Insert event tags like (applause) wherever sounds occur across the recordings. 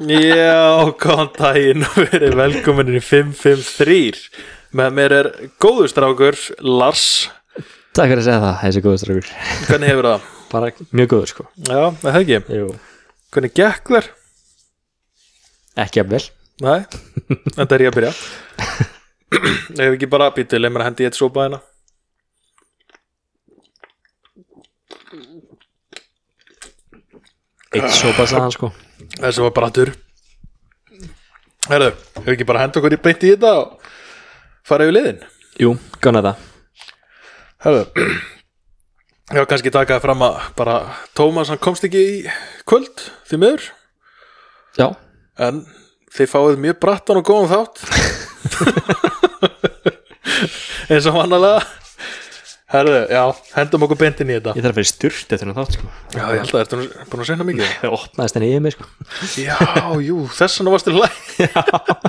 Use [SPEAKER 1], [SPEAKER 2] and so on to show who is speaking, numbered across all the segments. [SPEAKER 1] Já, góðan daginn og verið velkominni í 553 Með mér er góður strákur, Lars
[SPEAKER 2] Takk fyrir að segja það, þessi góður strákur
[SPEAKER 1] Hvernig hefur það?
[SPEAKER 2] Bara mjög góður sko
[SPEAKER 1] Já, með það ekki
[SPEAKER 2] Jú.
[SPEAKER 1] Hvernig gekk þér?
[SPEAKER 2] Ekki að vel
[SPEAKER 1] Nei, þetta er ég að byrja Ef ekki bara býtið, leið mér að hendi ég eitt sopa hérna
[SPEAKER 2] Eitt sopa sagði hann sko
[SPEAKER 1] Þessi var bara aður Herðu, ef ekki bara hendi okkur í breytti í þetta og fara yfir liðin
[SPEAKER 2] Jú, gana það
[SPEAKER 1] Herðu Já, kannski takaði fram að bara Tómas, hann komst ekki í kvöld því miður
[SPEAKER 2] Já,
[SPEAKER 1] En þið fáið mjög brattan og góðan (laughs) þátt eins og mannalega Herðu, já, hendum okkur bendin í þetta
[SPEAKER 2] ég þarf að fyrir styrkt eftir hann þátt sko
[SPEAKER 1] Já, ég held að ertu nú búin að segna mikið
[SPEAKER 2] Það opnaðist henni yfir mig sko
[SPEAKER 1] Já, jú, þessan varstu læg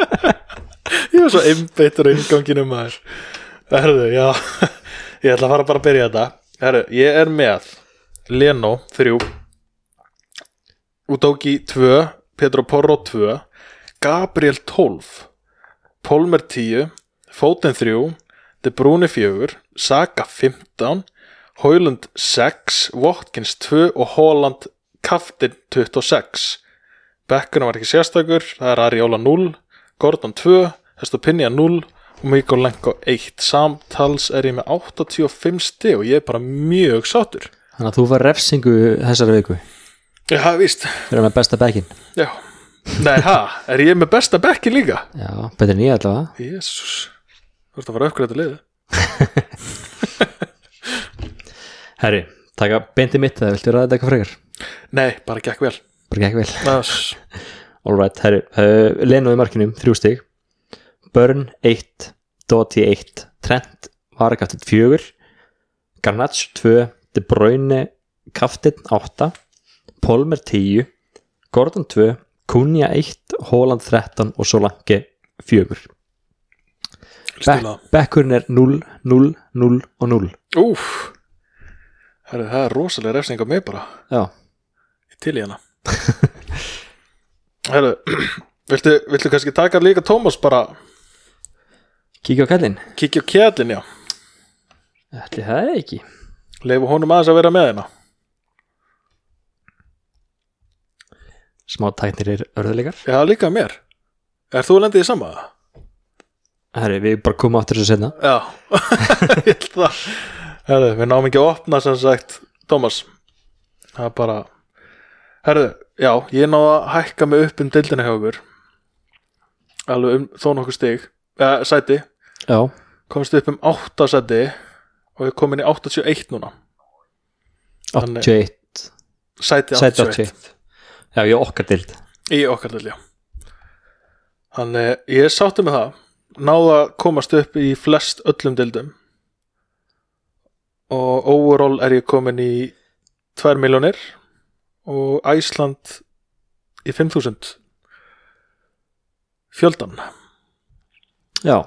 [SPEAKER 1] (laughs) Ég var svo einbeittur á innganginu maður Herðu, já (laughs) Ég ætla að fara bara að byrja þetta Herðu, ég er með Leno 3 Udogi 2 Pedro Porro 2 Gabriel 12 Polmer 10 Fóten 3 De Bruyne 4 Saka 15 Hoylund 6 Watkins 2 og Holland Kaftin 26 Bekkurinn var ekki sérstakur, það er Ariola 0, Gordon 2, Hestopinja 0 og Mikolenko 1. Samtals er ég með 85 stið og ég er bara mjög sátur.
[SPEAKER 2] Þannig að þú var refsingu þessari viku
[SPEAKER 1] Já, það er víst.
[SPEAKER 2] Fyrir með besta bekkin
[SPEAKER 1] Já. Nei, ha, er ég með besta bekki líka?
[SPEAKER 2] Já, betur en ég allavega
[SPEAKER 1] Jésús, þú ert að fara ökkur þetta liðið.
[SPEAKER 2] Herri, taka beintið mitt eða viltu ræða þetta eitthvað frekar
[SPEAKER 1] Nei, bara gekk vel.
[SPEAKER 2] Bara ekki vel
[SPEAKER 1] Þess.
[SPEAKER 2] Alright, herri, uh, Leno í markinum, þrjú stig Burn, 1 Doty, 1 Trent, Vargaftin, 4 Garnats, 2 De Bruyne, Kaftin, 8 Polmer, 10 Gordon, 2 Kunja, 1 Holland, 13 og Solanke, 4
[SPEAKER 1] Stila.
[SPEAKER 2] Bekkurinn er 0, 0, 0 og 0
[SPEAKER 1] Úf, Herri, það er rosalega refsing á mig bara.
[SPEAKER 2] Já,
[SPEAKER 1] Ég til í hana. Herru, (clears throat) viltu, viltu kannski taka líka Tómas bara
[SPEAKER 2] kíkja á kallinn
[SPEAKER 1] kíkja á kjælinn, já.
[SPEAKER 2] Ætli það er ekki
[SPEAKER 1] leifu honum aðeins að vera með hérna
[SPEAKER 2] Smá tæknir er örðuleikar
[SPEAKER 1] Já, líka mér Er þú lendið í sama?
[SPEAKER 2] Herri, við bara komum áttur þessu setna
[SPEAKER 1] Já, (laughs) ég held það Herðu, við náum ekki að opna sem sagt Thomas Það er bara Herðu, já, ég náðu að hækka mig upp um deildina hjá okkur Alveg um þó nokkuð stig eh, Sæti,
[SPEAKER 2] Já,
[SPEAKER 1] komst upp um 8 sæti Og ég kom inn í 81 núna
[SPEAKER 2] 81
[SPEAKER 1] Sæti 81
[SPEAKER 2] Sæti 81 Já, ég á okkar dild
[SPEAKER 1] Í okkar del, já Þannig, ég sátti með það Náða að komast upp í flest öllum deildum Og overall er ég komin í 2 miljónir Og Æsland í 5000 Fjöldan,
[SPEAKER 2] Já,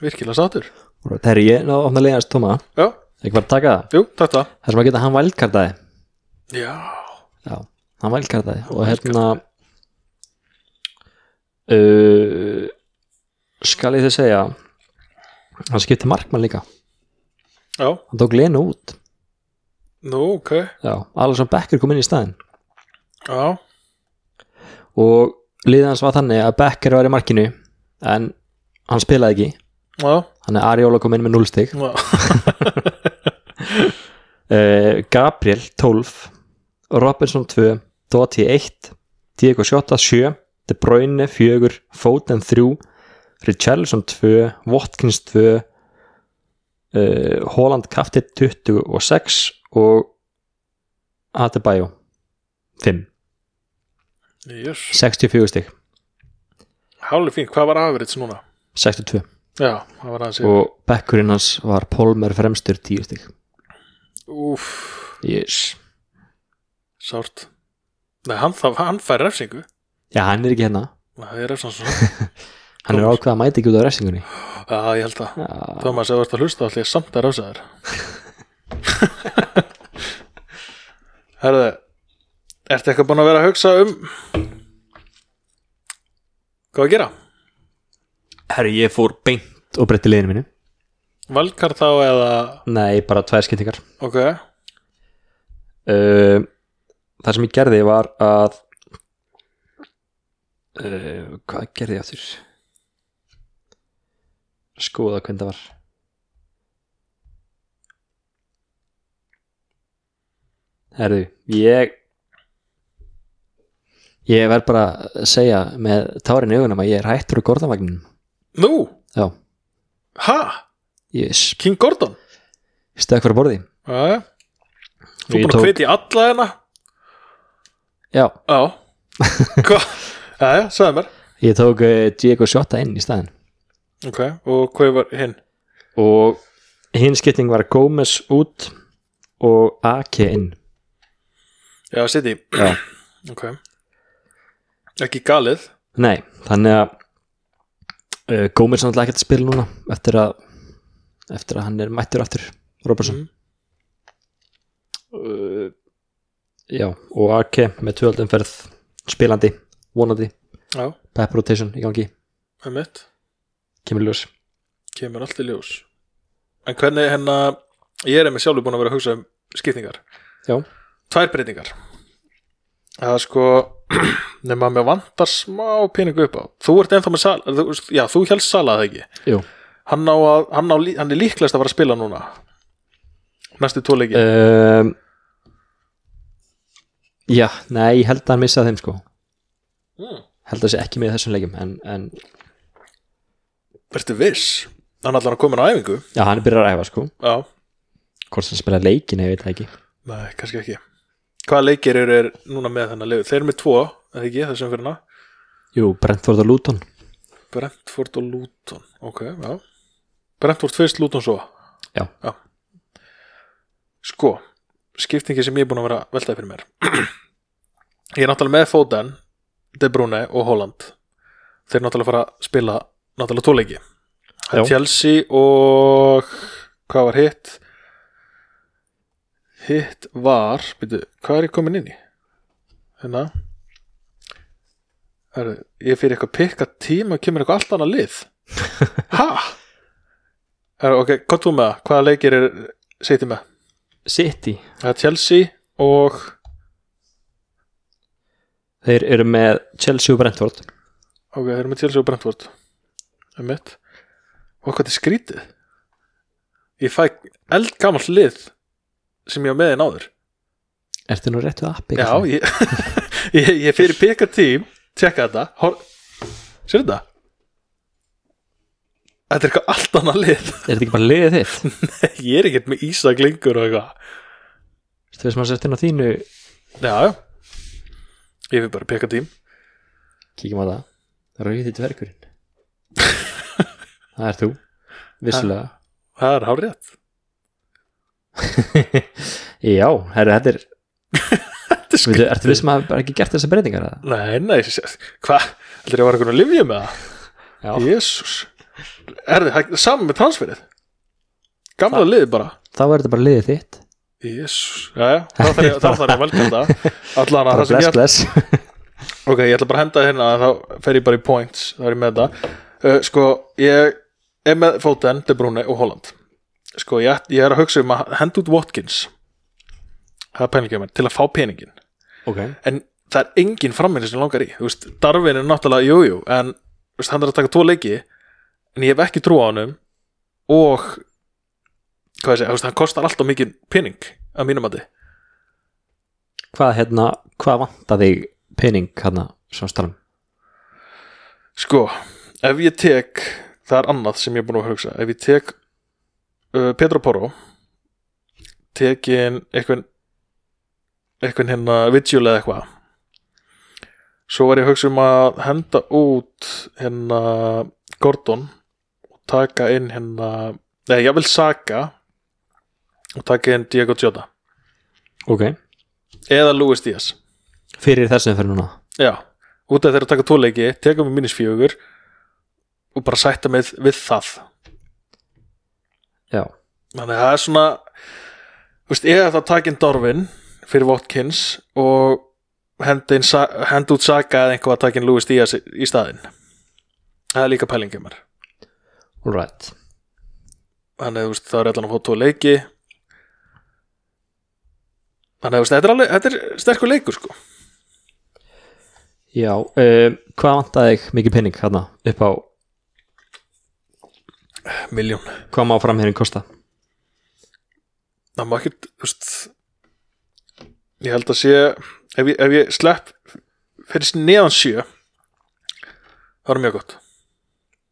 [SPEAKER 1] virkilega sáttur
[SPEAKER 2] það er ég náðu ofna leiðast Tóma
[SPEAKER 1] Já,
[SPEAKER 2] Ekki bara taka það
[SPEAKER 1] jú, takk það
[SPEAKER 2] Það sem að geta hann vælkardaði
[SPEAKER 1] Já,
[SPEAKER 2] Já, hann vælkardaði Og hérna uh, Skal ég þið segja Hann skipti markmann líka
[SPEAKER 1] já,
[SPEAKER 2] Hann tók Lenu út
[SPEAKER 1] nú, ok
[SPEAKER 2] Já, alveg svo Becker kom inn í staðinn
[SPEAKER 1] Já,
[SPEAKER 2] Og liðið hans var þannig að Becker var í markinu En hann spilaði ekki
[SPEAKER 1] já,
[SPEAKER 2] Þannig að Ariola kom inn með 0 stig
[SPEAKER 1] já
[SPEAKER 2] uh, Gabriel 12 Robinson 2 Doty 1 Diego Sjóta 7 De Bruyne 4 Foden 3 Richarlison 2 Watkins 2 uh, Holland Kaftir 26 og Adebayo 5
[SPEAKER 1] Jés,
[SPEAKER 2] 64 stig
[SPEAKER 1] hálf fín, hvað var afrits núna?
[SPEAKER 2] 62
[SPEAKER 1] Já, það var aðeins
[SPEAKER 2] og bekkurinn hans var Polmer fremstur 10 stig
[SPEAKER 1] Úff
[SPEAKER 2] yes.
[SPEAKER 1] Sárt Nei, hann, það, hann fær refsingu
[SPEAKER 2] Já, hann er ekki hérna
[SPEAKER 1] Nei, Það er refsan svona
[SPEAKER 2] Hann er ákveða að mæta ekki út á refsingunni
[SPEAKER 1] Já, ég held það
[SPEAKER 2] Já,
[SPEAKER 1] Thomas, ef þú ert að hlusta allir samt að refsa
[SPEAKER 2] (laughs)
[SPEAKER 1] þér Herðu Ertu eitthvað búin að vera að hugsa um Hvað að gera?
[SPEAKER 2] Herri, ég fór beint og breytti liðinu mínu
[SPEAKER 1] Valkar þá eða
[SPEAKER 2] Nei, bara tvær skiptingar
[SPEAKER 1] Ok,
[SPEAKER 2] uh, Það sem ég gerði var að uh, Hvað gerði ég aftur? Skoða hvernig það var Herðu, ég Ég verð bara að segja með tárin í augunum að ég er hættur úr gorðavagninum
[SPEAKER 1] nú
[SPEAKER 2] Já,
[SPEAKER 1] Ha?
[SPEAKER 2] ég
[SPEAKER 1] King Gordon?
[SPEAKER 2] stökk fyrir borði
[SPEAKER 1] Æ, þú
[SPEAKER 2] Ég
[SPEAKER 1] búin að
[SPEAKER 2] tók-
[SPEAKER 1] hvetja alla hérna
[SPEAKER 2] Já,
[SPEAKER 1] Já
[SPEAKER 2] (laughs)
[SPEAKER 1] Hvað? Jæja, sagði mér
[SPEAKER 2] ég tók eh, Diego Shota inn í staðinn
[SPEAKER 1] Ok, og hvað var hinn?
[SPEAKER 2] og hinn skipting var Gómez út og Ake inn
[SPEAKER 1] Já, City
[SPEAKER 2] Já.
[SPEAKER 1] (clears throat) Ok Ekki galið
[SPEAKER 2] nei, þannig að uh, Gómez er náttúrulega ekkert að spila núna eftir að, eftir að hann er mættur aftur, Robertson uh, já, og Ake með tvöldumferð spilandi, vonandi
[SPEAKER 1] Já,
[SPEAKER 2] pep rotation í gangi,
[SPEAKER 1] með mitt
[SPEAKER 2] kemur ljós
[SPEAKER 1] Kemur allt í ljós En hvernig hérna Ég er með sjálfur búin að vera að hugsa um skiptingar
[SPEAKER 2] já,
[SPEAKER 1] Tvær breytingar Það er sko (clears throat) Nefn að mér vantar smá peningu upp á Þú ert ennþá með sal þú, Já, þú hélst salað ekki
[SPEAKER 2] jú
[SPEAKER 1] hann, á að, hann, á, lí- hann er líklegast að fara að spila núna Næstu tóleiki uh.
[SPEAKER 2] um, já, nei, ég held að hann missa þeim sko
[SPEAKER 1] Mm.
[SPEAKER 2] held að það sé ekki með í þessum leikjum en, en
[SPEAKER 1] Vertu viss Hann ætlar að koma á æfingu
[SPEAKER 2] já, hann er byrjar að æfa sko
[SPEAKER 1] Já,
[SPEAKER 2] hvort sem spila leikin, ég veit það ekki
[SPEAKER 1] nei, kannski ekki Hvaða leikir eru er núna með þennan leið? Þeir eru með tvo, eða ekki, þessum fyrir hana
[SPEAKER 2] jú, Brentford og Luton
[SPEAKER 1] Brentford og Luton ok, já Brentford fyrst, Luton svo
[SPEAKER 2] Já.
[SPEAKER 1] sko, skiptingi sem ég er búin að vera að veltaði fyrir mér (clears throat) ég er náttúrulega með Foden De Bruyne og Holland þeir náttúrulega fara að spila náttúrulega tóleiki
[SPEAKER 2] Já.
[SPEAKER 1] Chelsea og hvað var hitt hitt var byrju, hvað er ég komin inn í hérna Herru, ég fyrir eitthvað pikka tíma og kemur eitthvað allt annað lið ha? Herru, ok, hvað þú með það? hvaða leikir er seti með?
[SPEAKER 2] City,
[SPEAKER 1] Það er Chelsea og
[SPEAKER 2] þeir eru með Chelsea og Brentford
[SPEAKER 1] ok, þeir eru með Chelsea og Brentford um mitt og hvað þetta er skrítið ég fæ eldgamall lið sem ég á meðin áður
[SPEAKER 2] ertu nú réttu appi?
[SPEAKER 1] já, ég, (laughs) ég, ég fyrir pikka tím tjekka þetta hor... sér þetta? þetta er eitthvað allt annað lið (laughs)
[SPEAKER 2] er þetta ekki bara liðið þitt?
[SPEAKER 1] ég er ekkert með Ísak lengur og eitthvað
[SPEAKER 2] Ertu þess að maður sett inn á þínu
[SPEAKER 1] Já, já Ég vil bara peka tím
[SPEAKER 2] kíkjum á það rauðið dvergurinn (laughs) það er þú, vissulega
[SPEAKER 1] Það er hár rétt
[SPEAKER 2] (laughs) já, herru, þetta er
[SPEAKER 1] Þetta er
[SPEAKER 2] veitu,
[SPEAKER 1] skrítið
[SPEAKER 2] ertu vissum að bara ekki gert þessar breytingar eða?
[SPEAKER 1] Nei, nei, hvað? Þetta er að vera einhvern að lifja með það
[SPEAKER 2] Já.
[SPEAKER 1] Jésús Er þið saman með transferið? Gamla liðið bara
[SPEAKER 2] þá er þetta bara liðið þitt
[SPEAKER 1] Jésús, jæja, þá þarf ég, þá þarf ég að velja þetta Allan að
[SPEAKER 2] bara
[SPEAKER 1] það sem
[SPEAKER 2] bless,
[SPEAKER 1] ég
[SPEAKER 2] bless
[SPEAKER 1] Ok, ég ætla bara að henda hérna þá fer ég bara í points, þá er ég með þetta uh, Sko, ég er með Foden, De Bruyne og Holland Sko, ég, æt- ég er að hugsa um að henda út Watkins Það er pælingið mér, til að fá peningin (laughs)
[SPEAKER 2] ok,
[SPEAKER 1] En það er engin frammeinu sem langar í Þú veist, Darwin er náttúrulega, jújú jú, En þú veist, hann er að taka tvo leiki En ég hef ekki trú á honum Og Hvað ég segja, þú veist, hann kostar alltaf mikið pening Að mínum að þið
[SPEAKER 2] hvað hérna, hvað vantar þig pening hérna, svona stálum
[SPEAKER 1] Sko, ef ég tek Það er annað sem ég er búin að hugsa Ef ég tek uh, Pedro Porro Tekin einhvern Einhvern hérna Vigil eða eitthvað Svo var ég að hugsa um að henda út hérna Gordon og taka inn hérna Nei, ég vil Saka og taka inn Diego Jota
[SPEAKER 2] ok,
[SPEAKER 1] eða Luis Díaz
[SPEAKER 2] fyrir þessum fyrir núna
[SPEAKER 1] Já, út af þeirra að taka tóleiki teka með mínus fjögur og bara sætta með við það
[SPEAKER 2] já,
[SPEAKER 1] Þannig að það er svona þú veist, ég ætla að taka inn Dorfin fyrir Watkins og henda, inn, Sa- henda út Saka eða einhvað að taka inn Luis Díaz í- í staðinn það er líka pælingi mér
[SPEAKER 2] Alright
[SPEAKER 1] þannig að þú veist, það er allan að fá tvo leiki þannig að þú veist, þetta er, alveg, þetta er sterkur leikur sko
[SPEAKER 2] Já, um, hvað vantaði þig mikið penning hérna upp á
[SPEAKER 1] miljón
[SPEAKER 2] hvað má framherinn kosta?
[SPEAKER 1] það má ekkert þú veist, ég held að sé ef ég, ef ég slepp fyrir neðan sjö það er mjög gott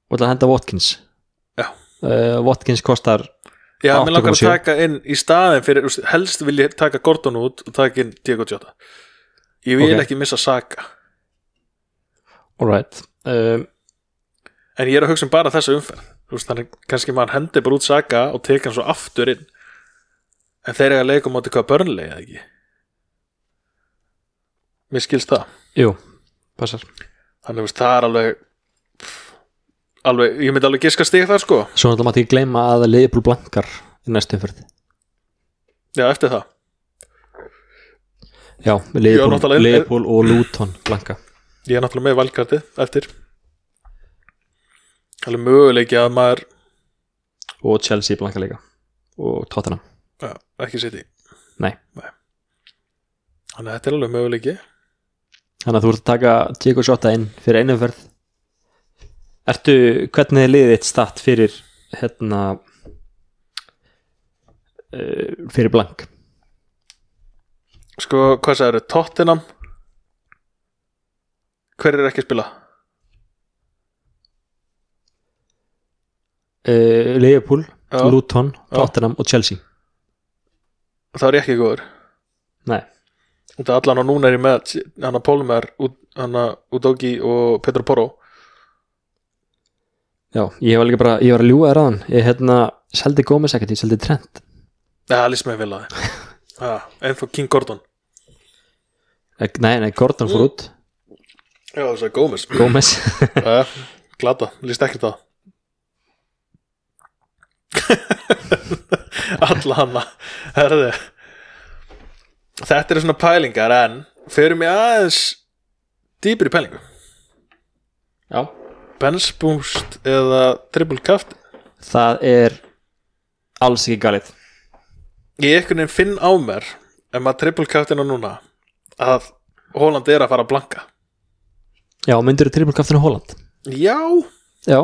[SPEAKER 2] Og ætla að henda Watkins
[SPEAKER 1] Já.
[SPEAKER 2] Eh, Watkins kostar
[SPEAKER 1] já, mér langar að
[SPEAKER 2] 8,7.
[SPEAKER 1] taka inn í staðin fyrir, þú veist, helst vil ég taka Gordon út og taka inn Diego Jota ég vil
[SPEAKER 2] Ok.
[SPEAKER 1] ekki missa Saka
[SPEAKER 2] Alright um,
[SPEAKER 1] en ég er að hugsa um bara þessa umferð Þú veist, þannig kannski maður hendir bara út Saka og teka hann svo aftur inn en þeir eru að leika mátti hvað börnlega eða ekki mér skilst það
[SPEAKER 2] Jú, passar
[SPEAKER 1] þannig að það er alveg pff, alveg, ég myndi alveg giska stig þar sko
[SPEAKER 2] Svo náttúrulega mátti ég gleyma að Leifbúl blankar í næstu umferð
[SPEAKER 1] já, eftir það, Já,
[SPEAKER 2] Já,
[SPEAKER 1] náttúrulega-
[SPEAKER 2] Leifbúl og Luton blanka
[SPEAKER 1] ég er náttúrulega með valkartið eftir alveg möguleiki að maður
[SPEAKER 2] og Chelsea blanka líka og Tottenham
[SPEAKER 1] já, ekki sitt í
[SPEAKER 2] Nei.
[SPEAKER 1] þannig að þetta er alveg möguleiki
[SPEAKER 2] Þannig að þú ert að taka Diego Jota inn fyrir einu umferð Ertu, hvernig er liðið þitt statt fyrir hérna uh, fyrir blank
[SPEAKER 1] sko, hvað sagður, Tottenham hver er ekki að spila?
[SPEAKER 2] uh, Leifbúl,
[SPEAKER 1] Já.
[SPEAKER 2] Luton,
[SPEAKER 1] Já.
[SPEAKER 2] Tottenham og Chelsea
[SPEAKER 1] það er ég ekki góður
[SPEAKER 2] Nei,
[SPEAKER 1] Þetta allan og núna er ég með hana Pólmer, hana Udogi og Petro Porro
[SPEAKER 2] já, ég var líka bara ég var að ljúga þér aðan, ég hérna seldi Gómez ekkert, ég seldi Trent
[SPEAKER 1] Nei, það líst mér vel að það En þú King Gordon
[SPEAKER 2] Eh, Nei, nei, Gordon fór út,
[SPEAKER 1] Já, það er Gómez
[SPEAKER 2] Gómez
[SPEAKER 1] Jæja, Glata, líst ekki það (laughs) Alla hana Herði Þetta eru svona pælingar en Fyrir mig aðeins Dýpri pælingu
[SPEAKER 2] Já,
[SPEAKER 1] Benz Boost eða Triple Kaft
[SPEAKER 2] (laughs) það er alls ekki galið
[SPEAKER 1] ég einhvern veginn finn á mér ef maður triple captaina núna að Holland er að fara að blanka
[SPEAKER 2] Já, myndirðu trippulkaftinu Holland
[SPEAKER 1] já,
[SPEAKER 2] Já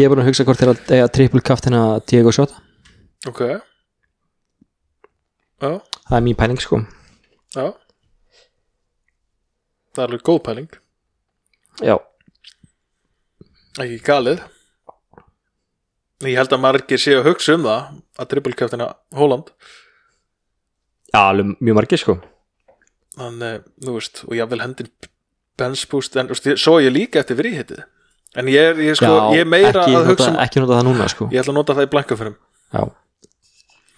[SPEAKER 2] Ég er búin að hugsa hvort þeir að eiga triple kaftina Diego Shota
[SPEAKER 1] ok já,
[SPEAKER 2] Það er mín pæling sko
[SPEAKER 1] já það er alveg góð pæling
[SPEAKER 2] Já,
[SPEAKER 1] ekki galið ég held að margir séu að hugsa um það að triple captaina Holland
[SPEAKER 2] Já alveg mjög margir sko
[SPEAKER 1] þannig, eh, þú veist, og ég vil hendin benspúst, en þú veist, ég- svo er ég líka eftir fríhittið, en ég er, ég, er sko,
[SPEAKER 2] Já,
[SPEAKER 1] ég er meira
[SPEAKER 2] ekki,
[SPEAKER 1] að hugsa um,
[SPEAKER 2] nota, ekki nota það núna sko
[SPEAKER 1] ég ætla að nota það í blankaförum
[SPEAKER 2] Já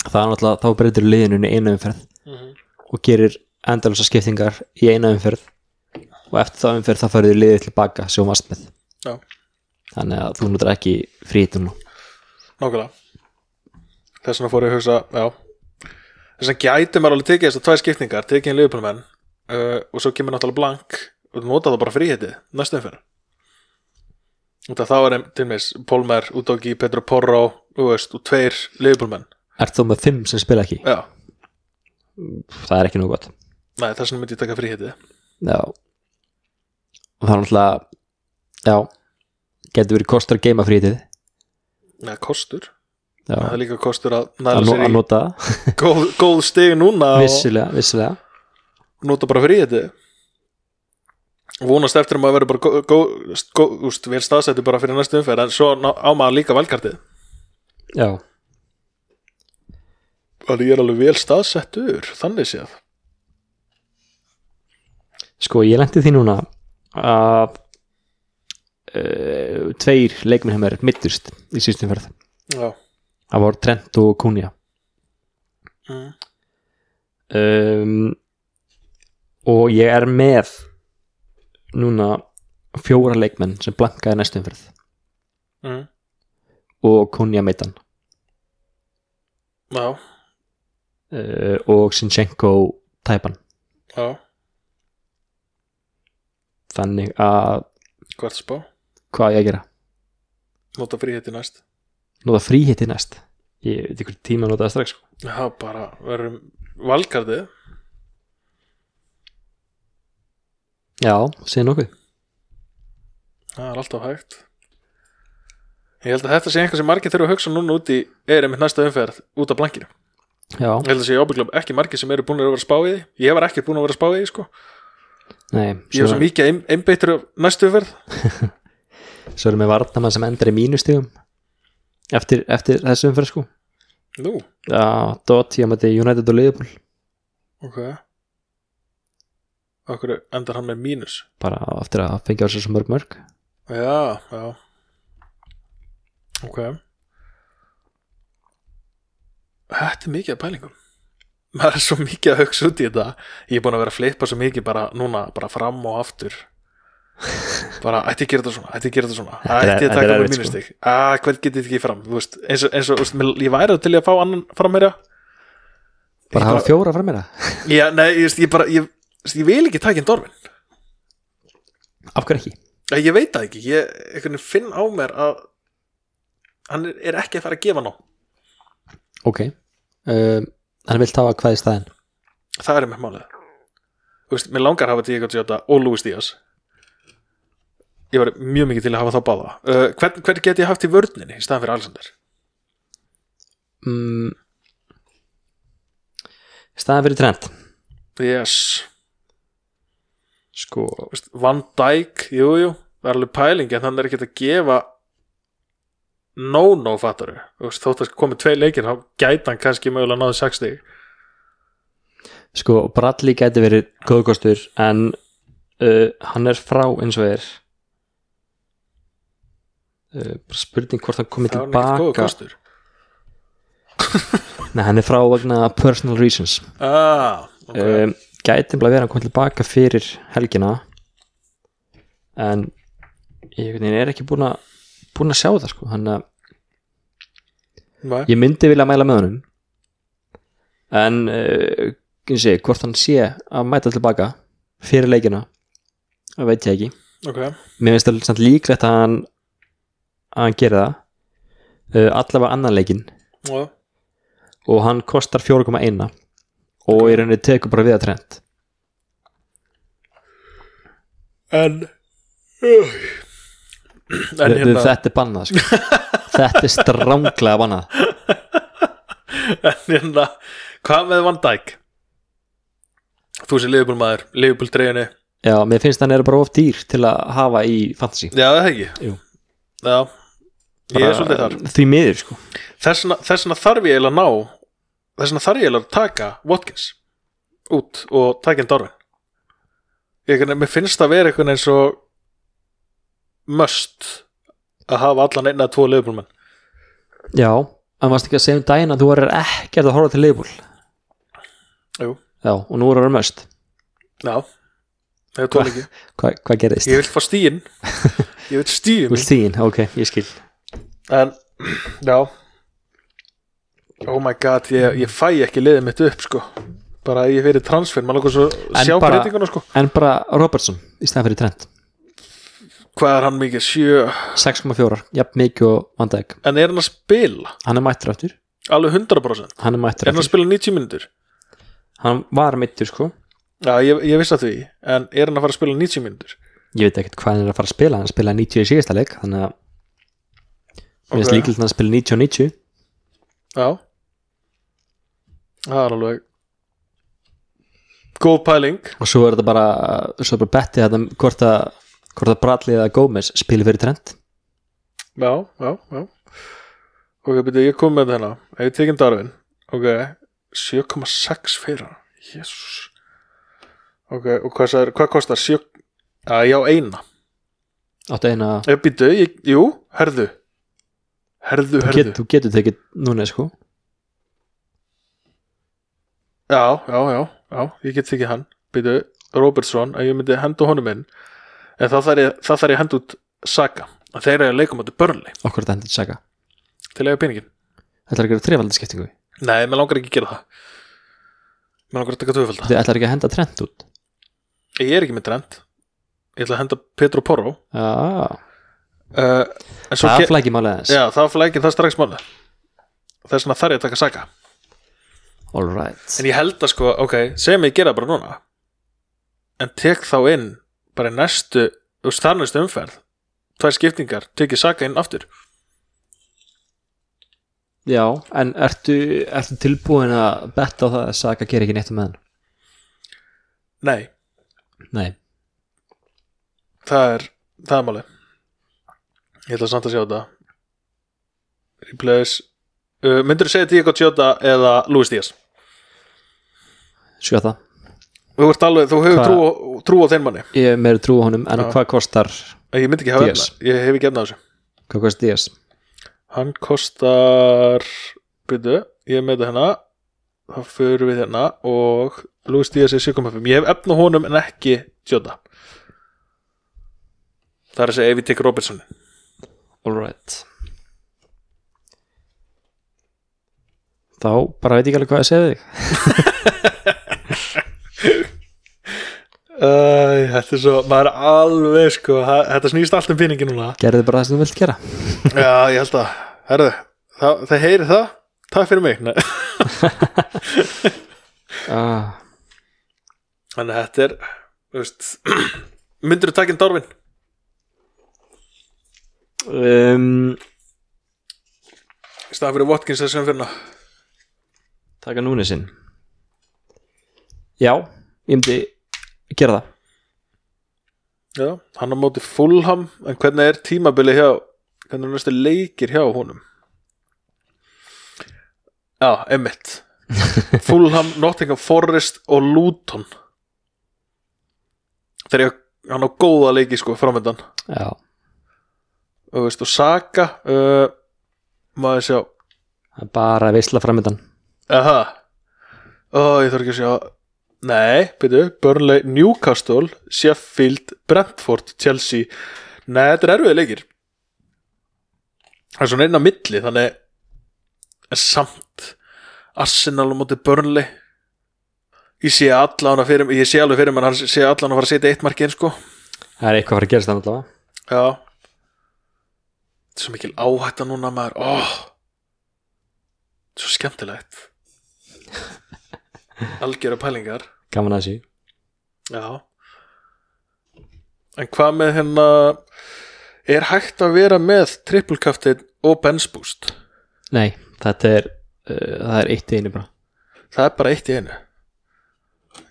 [SPEAKER 2] Það er náttúrulega, þá breytir liðinu í eina umferð
[SPEAKER 1] mm -hmm.
[SPEAKER 2] og gerir endalösa skiptingar í eina umferð og eftir það umferð þá færðu liðið tilbaka sem þú varst með
[SPEAKER 1] Já.
[SPEAKER 2] Þannig að þú notar ekki frítum nú
[SPEAKER 1] Nákvæmlega Þess vegna fór ég að hugsa, já Þess vegna gæti maður alveg tekið þessar tvær skiptingar tekið inn liðbjörnumenn uh, og svo kemur náttúrulega blank og nota það bara fríhetið næstum fyrir Þetta þá er til mér Pólmer, Udogi, Petro Porro þú veist, og tveir liðbjörnumenn
[SPEAKER 2] Ert þú með fimm sem spila ekki?
[SPEAKER 1] Já,
[SPEAKER 2] Það er ekki nú gott
[SPEAKER 1] nei, þess vegna myndi ég taka fríhetið
[SPEAKER 2] Já og það er náttúrulega já, getur verið kostur að geima frítið
[SPEAKER 1] Nei, kostur,
[SPEAKER 2] já,
[SPEAKER 1] það er líka kostur að
[SPEAKER 2] að,
[SPEAKER 1] næla
[SPEAKER 2] no,
[SPEAKER 1] sér
[SPEAKER 2] að
[SPEAKER 1] í
[SPEAKER 2] nota það,
[SPEAKER 1] góð, góð stig núna og
[SPEAKER 2] vissilega, vissilega
[SPEAKER 1] nota bara fríhetið vonast eftir að maður verður bara gó- gó- gó- þú veist, vel staðsettu bara fyrir næstu umferð en svo ná- á maður líka valkartið
[SPEAKER 2] já,
[SPEAKER 1] Alveg ég er alveg vel staðsettur, þannig séð.
[SPEAKER 2] sko ég lendi því núna að uh, tveir leikminn hefur mittust í sístum ferð
[SPEAKER 1] Já.
[SPEAKER 2] það voru Trent og Kunja
[SPEAKER 1] Mm.
[SPEAKER 2] um, og ég er með núna fjóra leikmenn sem blankaði næstum ferð
[SPEAKER 1] Mm.
[SPEAKER 2] og Kunja meittan
[SPEAKER 1] Já,
[SPEAKER 2] uh, og Sinchenko tæpan
[SPEAKER 1] já,
[SPEAKER 2] þannig að
[SPEAKER 1] hvert spá.
[SPEAKER 2] hvað á ég að gera?
[SPEAKER 1] nota fríheti næst
[SPEAKER 2] Nóta fríhiti næst Ég veit ykkur tíma að nota það strax sko.
[SPEAKER 1] Já, bara verðum valkarðið
[SPEAKER 2] Já, segir nokkuð
[SPEAKER 1] Það er alltaf hægt Ég held að þetta sé einhver sem margir þurfa að hugsa núna út í er einmitt næsta umferð út af blankinu
[SPEAKER 2] Já,
[SPEAKER 1] Ég held að sé ábygglega ekki margir sem eru búin að vera að spá í því Ég var ekki búin að vera að spá í því sko
[SPEAKER 2] nei
[SPEAKER 1] Ég var svo mikið ein, einbeittur af næstu umferð
[SPEAKER 2] Svo erum við varnamann sem endar í mínustigum eftir, eftir þessu umferð sko
[SPEAKER 1] Nú,
[SPEAKER 2] Já, Dotti á mæti United og Liverpool
[SPEAKER 1] ok Okkur endar hann með mínus
[SPEAKER 2] bara eftir að fengja á sér svo mörg mörg
[SPEAKER 1] Já, já Ok Þetta er mikið að pælingum maður er svo mikið að hugsa út í þetta ég er búin að vera að flippa svo mikið bara núna, bara fram og aftur bara, ætti ég að gera þetta svona ætti ég að gera þetta svona,
[SPEAKER 2] Þetta er-
[SPEAKER 1] ætti ég að
[SPEAKER 2] þetta er
[SPEAKER 1] taka
[SPEAKER 2] erfitt,
[SPEAKER 1] mér mínustig sko. að hvert getið ekki fram, þú veist eins og, eins og þú veist, mér- ég væri til í að fá annan fram meira
[SPEAKER 2] bara hafa fjóra fram meira
[SPEAKER 1] já, nei, ég, veist, ég bara ég, ég, ég vil ekki taka inn dorfin
[SPEAKER 2] af hverju ekki?
[SPEAKER 1] Ég ég veit það ekki, ég einhvern veginn finn á mér að hann er- er ekki að fara að gefa nóg
[SPEAKER 2] ok um, hann vil tafa hvað í staðinn
[SPEAKER 1] Það er með málið Þú veist, Mér langar að hafa Diego Giotta og Luis Díaz Ég var mjög mikið til að hafa þá báða uh, hvern, hvern get ég haft í vörninni í staðan fyrir Alexander?
[SPEAKER 2] mm, staðan fyrir trend
[SPEAKER 1] Yes,
[SPEAKER 2] sko
[SPEAKER 1] Þú veist, Van Dijk, jú, jú það er alveg pæling en hann er ekki að gefa no-no fattaru þótt að komið tvei leikir þá gæti hann kannski mögulega náðu 60
[SPEAKER 2] sko Bradley gæti verið góðkostur en uh, hann er frá eins og er uh, bara spurning hvort hann komið
[SPEAKER 1] það er hann ekki góða
[SPEAKER 2] tilbaka
[SPEAKER 1] kostur
[SPEAKER 2] nei hann er frá vegna personal reasons
[SPEAKER 1] ah, okay.
[SPEAKER 2] um, gæti bara verið að koma tilbaka fyrir helgina en ég einhvern veginn er ekki búin að búin að sjá það sko þannig að
[SPEAKER 1] Nei.
[SPEAKER 2] ég myndi vilja mæla með honum en uh, sé, hvort hann sé að mæta tilbaka fyrir leikina það veit ég ekki
[SPEAKER 1] ok
[SPEAKER 2] mér finnst það samt líklegt að hann að hann geri það uh, allavega annan leikin
[SPEAKER 1] Já,
[SPEAKER 2] og hann kostar 4,1 og í rauninni tekur bara við að trend
[SPEAKER 1] en Új. en
[SPEAKER 2] Þe-
[SPEAKER 1] hérna,
[SPEAKER 2] þetta er bannað
[SPEAKER 1] (laughs)
[SPEAKER 2] sko. þetta er stránglega bannað
[SPEAKER 1] en hérna hvað með Van Dijk þú sem Liverpool maður, Liverpool treyjunni
[SPEAKER 2] já, mér finnst hann er bara of dýr til að hafa í fantasy
[SPEAKER 1] já það er ekki
[SPEAKER 2] Jú.
[SPEAKER 1] já, ég er svolítið þar
[SPEAKER 2] Bara því miður sko
[SPEAKER 1] þess vegna- þess vegna þarf ég eiginlega að ná þess vegna þarf ég eiginlega að taka Watkins út og taka inn Darwin ég, einhvern veginn- mér finnst það vera einhvern eins og must að hafa allan einn að tvo Liverpool menn
[SPEAKER 2] já, en varst ekki að segja um daginn að þú er ekkert að horfa til leifbúl
[SPEAKER 1] Jú.
[SPEAKER 2] já, og nú er það möst
[SPEAKER 1] já, það er tónleiki
[SPEAKER 2] Hva, hvað gerðist?
[SPEAKER 1] Ég vil fá
[SPEAKER 2] (laughs)
[SPEAKER 1] stíin Ég vil stíin
[SPEAKER 2] Þú vilt þín, ok, ég skil
[SPEAKER 1] En, já Oh my god, ég, ég fæ ekki liðið mitt upp sko Bara ef ég verið transfer, maður lókur svo
[SPEAKER 2] En
[SPEAKER 1] sjá
[SPEAKER 2] bara-
[SPEAKER 1] breytinguna sko
[SPEAKER 2] en bara Robertson í stæðan fyrir trend
[SPEAKER 1] Hvað er hann mikið? Sjö
[SPEAKER 2] 6,4, jafn mikið og vandæk
[SPEAKER 1] En er hann að spila?
[SPEAKER 2] hann er mættur aftur,
[SPEAKER 1] Alveg 100%
[SPEAKER 2] hann er mættur
[SPEAKER 1] Er hann að
[SPEAKER 2] aftur
[SPEAKER 1] spila 90 mínútur?
[SPEAKER 2] hann var mittur sko,
[SPEAKER 1] Já, ég, ég vissi að því En er hann að fara að spila 90 mínútur?
[SPEAKER 2] ég veit ekkert hvað hann er að fara að spila hann spilaði 90 í síðasta leik þannig að Mér finnst líkilt að hann spila 90 og 90
[SPEAKER 1] Já Það er alveg Góð pæling
[SPEAKER 2] og svo er þetta bara, svo er bara bettið þetta hvort að, hvort að Bradley eða Gómez spila fyrir trend
[SPEAKER 1] Já, já, já Ok, byrju, ég kom með þetta hérna Ef ég tekinn Darwin Ok, 7,6 fyrir hann Jésús Ok, og hvað, sagði, hvað kostar? 7 Já, já, eina
[SPEAKER 2] áttu eina,
[SPEAKER 1] Ef byrju, ég, jú, herðu Herðu,
[SPEAKER 2] þú
[SPEAKER 1] herðu
[SPEAKER 2] get, þú getur tekið núna sko,
[SPEAKER 1] Já, já, já, já, ég get tekið hann Byrju, Robertson, að ég myndi henda honum inn En það þarf ég, það þarf ég að henda út Saka, að þeir eru að leikum áttu börnli
[SPEAKER 2] okkur þetta hendur saga
[SPEAKER 1] Til að eiga peningin
[SPEAKER 2] ætlar ekki að trefaldi skiptingu,
[SPEAKER 1] Nei, mér langar ekki að gera það Mér langar að taka tvöfalda
[SPEAKER 2] þetta ætlar ekki að henda trend út
[SPEAKER 1] Ég er ekki með trend Ég ætla að henda Petro Porro
[SPEAKER 2] já,
[SPEAKER 1] uh, en svo
[SPEAKER 2] Ah, það
[SPEAKER 1] ke-
[SPEAKER 2] flækir málið aðeins
[SPEAKER 1] Já, það flækir það strax máli Það er svona þar ég að taka saka
[SPEAKER 2] all right
[SPEAKER 1] En ég held að sko, ok, sem ég gera bara núna En tek þá inn bara í næstu, úr þarnastu umferð Tvær skiptingar, tek ég saka inn aftur
[SPEAKER 2] já, en ertu, ertu tilbúin að betta á það að Saga gera ekki neitt um meðan
[SPEAKER 1] Nei,
[SPEAKER 2] nei,
[SPEAKER 1] það er, það er máli Ég ætla samt að sjá þetta Replays uh, Myndirðu segja Diego Jota eða Luis Díaz?
[SPEAKER 2] skjóta
[SPEAKER 1] Þú, ert alveg, þú hefur
[SPEAKER 2] Hvað-
[SPEAKER 1] trú, á- trú á þeim manni
[SPEAKER 2] ég er meira trú á honum, en
[SPEAKER 1] Já.
[SPEAKER 2] hvað kostar
[SPEAKER 1] Ég myndi ekki hafa
[SPEAKER 2] Diaz.
[SPEAKER 1] efna, ég hef ekki efna á þessu
[SPEAKER 2] hvað kostar Díaz?
[SPEAKER 1] Hann kostar byrju, ég er með þetta hérna það förum við hérna og Louis Díaz er 7.5 ég hef efna honum en ekki Jota það er að segja ef ég tek Robertson
[SPEAKER 2] all right þá bara veit ég ekki alveg hvað ég segi þig
[SPEAKER 1] Æ, þetta er svo, maður er alveg sko, ha- þetta snýst allt um pinningi núna
[SPEAKER 2] gerðu bara það sem þú vilt gera
[SPEAKER 1] já, ég held að, herðu það, það heyri það, takk fyrir mig Nei.
[SPEAKER 2] ah,
[SPEAKER 1] þannig að þetta er, þú veist (clears throat) myndirðu takin Darwin
[SPEAKER 2] um,
[SPEAKER 1] í staðan fyrir Watkins þessum fyrir hérna?
[SPEAKER 2] taka núni sinn já, ég myndi gera það
[SPEAKER 1] Já, hann á móti Fulham en hvernig er tímabili hjá hvernig er næstu leikir hjá honum Já, emmitt Fulham, Nottingham Forest og Luton þegar ég, hann á góða leiki sko framöndan
[SPEAKER 2] já,
[SPEAKER 1] og, veist, og Saka uh, maður sjá
[SPEAKER 2] það er bara veisla framöndan
[SPEAKER 1] Aha Ó, ég þarf ekki að sjá Nei, byrju, Burnley, Newcastle Sheffield, Brentford, Chelsea Nei, þetta er erfið leikir Það er svona einn á milli Þannig en Samt Arsenal á móti Burnley Ég sé allan að fyrir Ég sé alveg fyrir mér að hann sé allan að fara að setja eitt markið inn, sko
[SPEAKER 2] það er eitthvað að fara að gerast það allavega
[SPEAKER 1] Já Þetta er svo mikil áhætta núna maður Ó Svo (laughs) skemmtilegt Algjöra pælingar
[SPEAKER 2] gaman að þessu
[SPEAKER 1] Já En hvað með hérna Er hægt að vera með trippulkaftin og bensbúst?
[SPEAKER 2] nei, þetta er uh, það er eitt í einu bara
[SPEAKER 1] Það er bara eitt í einu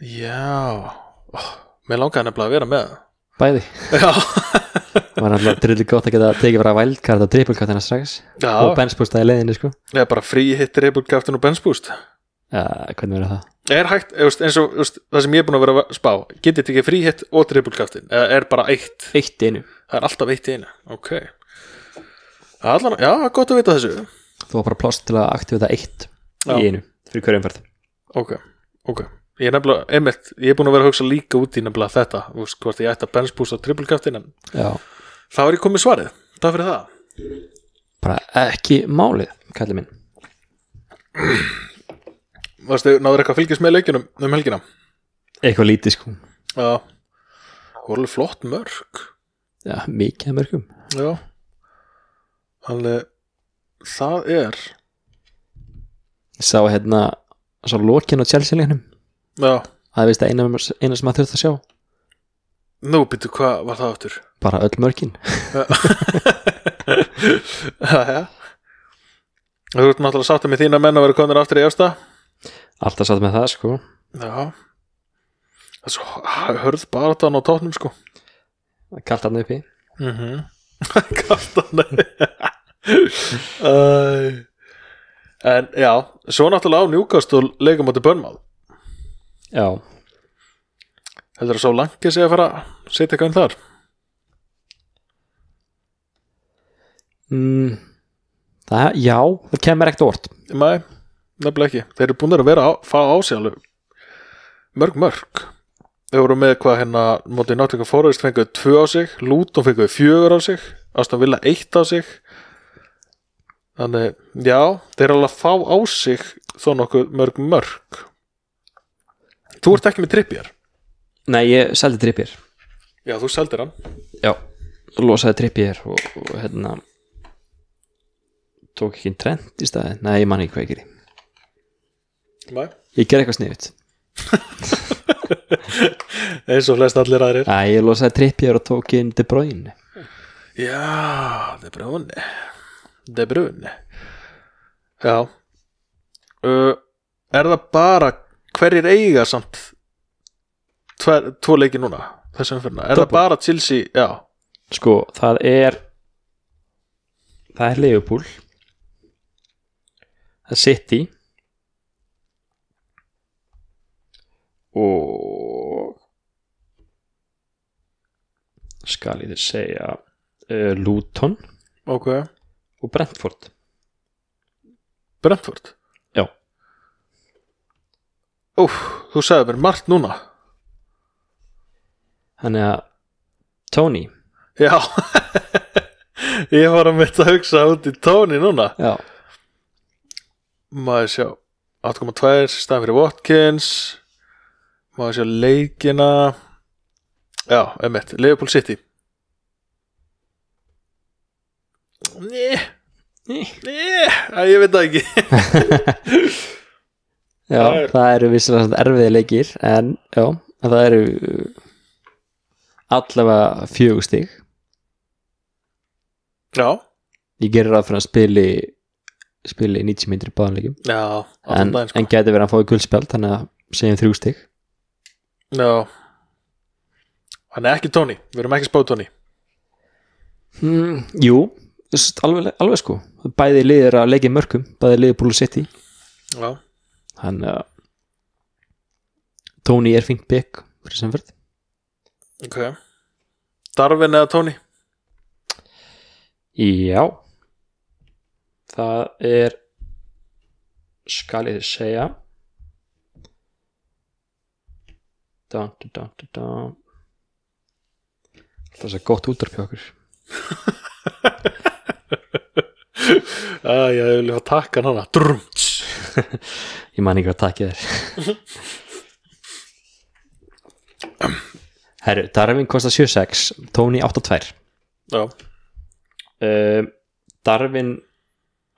[SPEAKER 1] Já Ó, Mér langaði nefnilega að vera með
[SPEAKER 2] bæði,
[SPEAKER 1] það Já,
[SPEAKER 2] það var alltaf drillu gott að geta tekið bara vældkart og trippulkartina strax og
[SPEAKER 1] (laughs) Já.
[SPEAKER 2] benspústa í leiðinni sko
[SPEAKER 1] Ég er bara frí hitt trippulkaftin og bensbúst
[SPEAKER 2] já, hvernig verður það?
[SPEAKER 1] er hægt, þú veist, eins og þú veist, það sem ég er búin að vera að spá getið tekið fríhitt og trippulkaftin eða er bara eitt,
[SPEAKER 2] eitt í einu,
[SPEAKER 1] það er alltaf eitt í einu ok Allan, já, gott að vita þessu
[SPEAKER 2] þú var bara plást til að aktivita eitt
[SPEAKER 1] Já.
[SPEAKER 2] í einu fyrir hverjum færð
[SPEAKER 1] ok, ok, ég er nefnilega, einmitt ég er búin að vera að hugsa líka út í nefnilega þetta þú veist, hvort ég ætti að bensbústa trippulkaftin en
[SPEAKER 2] já,
[SPEAKER 1] þá er ég komið svarið, það fyrir það
[SPEAKER 2] bara ekki málið, kallið minn
[SPEAKER 1] Varstu, náður eitthvað að fylgjast með leikjunum um helgina
[SPEAKER 2] eitthvað lítið sko,
[SPEAKER 1] já, voru alveg flott mörg
[SPEAKER 2] já, mikið af mörgum
[SPEAKER 1] já alveg, það er
[SPEAKER 2] Ég sá hérna sá lokin á Chelsea leiknum
[SPEAKER 1] já,
[SPEAKER 2] það er vist að eina, eina sem maður þurft að sjá
[SPEAKER 1] nú býttu hvað var það áttur
[SPEAKER 2] bara öll mörkin
[SPEAKER 1] Jæja. Þú ert náttúrulega sáttu með þína menn að vera konur aftur í efsta
[SPEAKER 2] alltaf satt með það sko
[SPEAKER 1] Já Það er svo hörð bara á tóknum sko
[SPEAKER 2] kallt hann uppi
[SPEAKER 1] mm (laughs) -hmm. Kaftan Æ. En já Svo náttúrulega á njúkast og leikum átti börnmáð
[SPEAKER 2] já,
[SPEAKER 1] Heldur að svo langið sé að fara að setja eitthvað inn þar
[SPEAKER 2] mm, það, já það kemur ekkert orð
[SPEAKER 1] Nei, nefnilega ekki Þeir eru búin að vera að fá á sig alveg Mörg, mörg Þeir voru með hvað hérna Mótið náttúrulega fórhæðist fenguðu tvö á sig Lúton fenguðu fjögur á sig Ástan vilja eitt á sig Þannig, já Þeir eru alveg að fá á sig Þó nokkuð mörg, mörg Þú ert ekki með trippjar
[SPEAKER 2] nei, ég seldi trippir
[SPEAKER 1] Já, þú seldir hann
[SPEAKER 2] já, losaði Trippier og, og hérna tók ekki inn Trent í staði nei, ég man ekki hvað ég geri
[SPEAKER 1] Nei.
[SPEAKER 2] ég gerði eitthvað sniðut
[SPEAKER 1] eins og flest allir aðrir
[SPEAKER 2] Æ, ég losaði Trippier og tók inn De Bruyne
[SPEAKER 1] Já, De Bruyne De Bruyne Já uh, Er það bara hverjir eiga samt tver, tvo leiki núna þessum fyrir Er það
[SPEAKER 2] Dortmund.
[SPEAKER 1] bara Chelsea Já,
[SPEAKER 2] sko, það er það er Leopold það er City og skal ég þér segja uh, Luton
[SPEAKER 1] ok
[SPEAKER 2] og Brentford
[SPEAKER 1] Brentford
[SPEAKER 2] Já.
[SPEAKER 1] Úf, þú sagði mér margt núna
[SPEAKER 2] þannig að Tony
[SPEAKER 1] Já (laughs) Ég var að mitt að hugsa út í tóni núna
[SPEAKER 2] já,
[SPEAKER 1] maður sjá 8.2 staðan fyrir Watkins maður sjá leikina já, emmett, Liverpool City Né,
[SPEAKER 2] Né.
[SPEAKER 1] né, æ, ég veit það ekki
[SPEAKER 2] já
[SPEAKER 1] Það er-
[SPEAKER 2] það eru vissilega svona erfiði leikir en já, en það eru uh, allavega fjögustig
[SPEAKER 1] já,
[SPEAKER 2] ég gerir ráð fyrir að spili spili 90 myndir í báðanleikum
[SPEAKER 1] já,
[SPEAKER 2] en,
[SPEAKER 1] allan daginn sko
[SPEAKER 2] en gæti verið að hann fái guldspjald þannig að segjum þrjú stig
[SPEAKER 1] já hann er ekki Tony, við erum ekki spáð Tony
[SPEAKER 2] mm, jú, s- alveg, alveg sko bæði liðir að leikið mörgum bæði liðir búlu sitt í
[SPEAKER 1] já,
[SPEAKER 2] hann uh, Tony er fínt bygg fyrir sem verð
[SPEAKER 1] ok Darvin eða Tony
[SPEAKER 2] já það er skal ég þið segja dun, dun, dun, dun, dun. það er svo gott útarpjá okkur
[SPEAKER 1] Æ, já, ég vil hafa takkan hana Drum, tss.
[SPEAKER 2] Ég man ekki hvað takkið er Herru, Darwin kostar 7.6 Tony 8.2
[SPEAKER 1] já,
[SPEAKER 2] uh, Darwin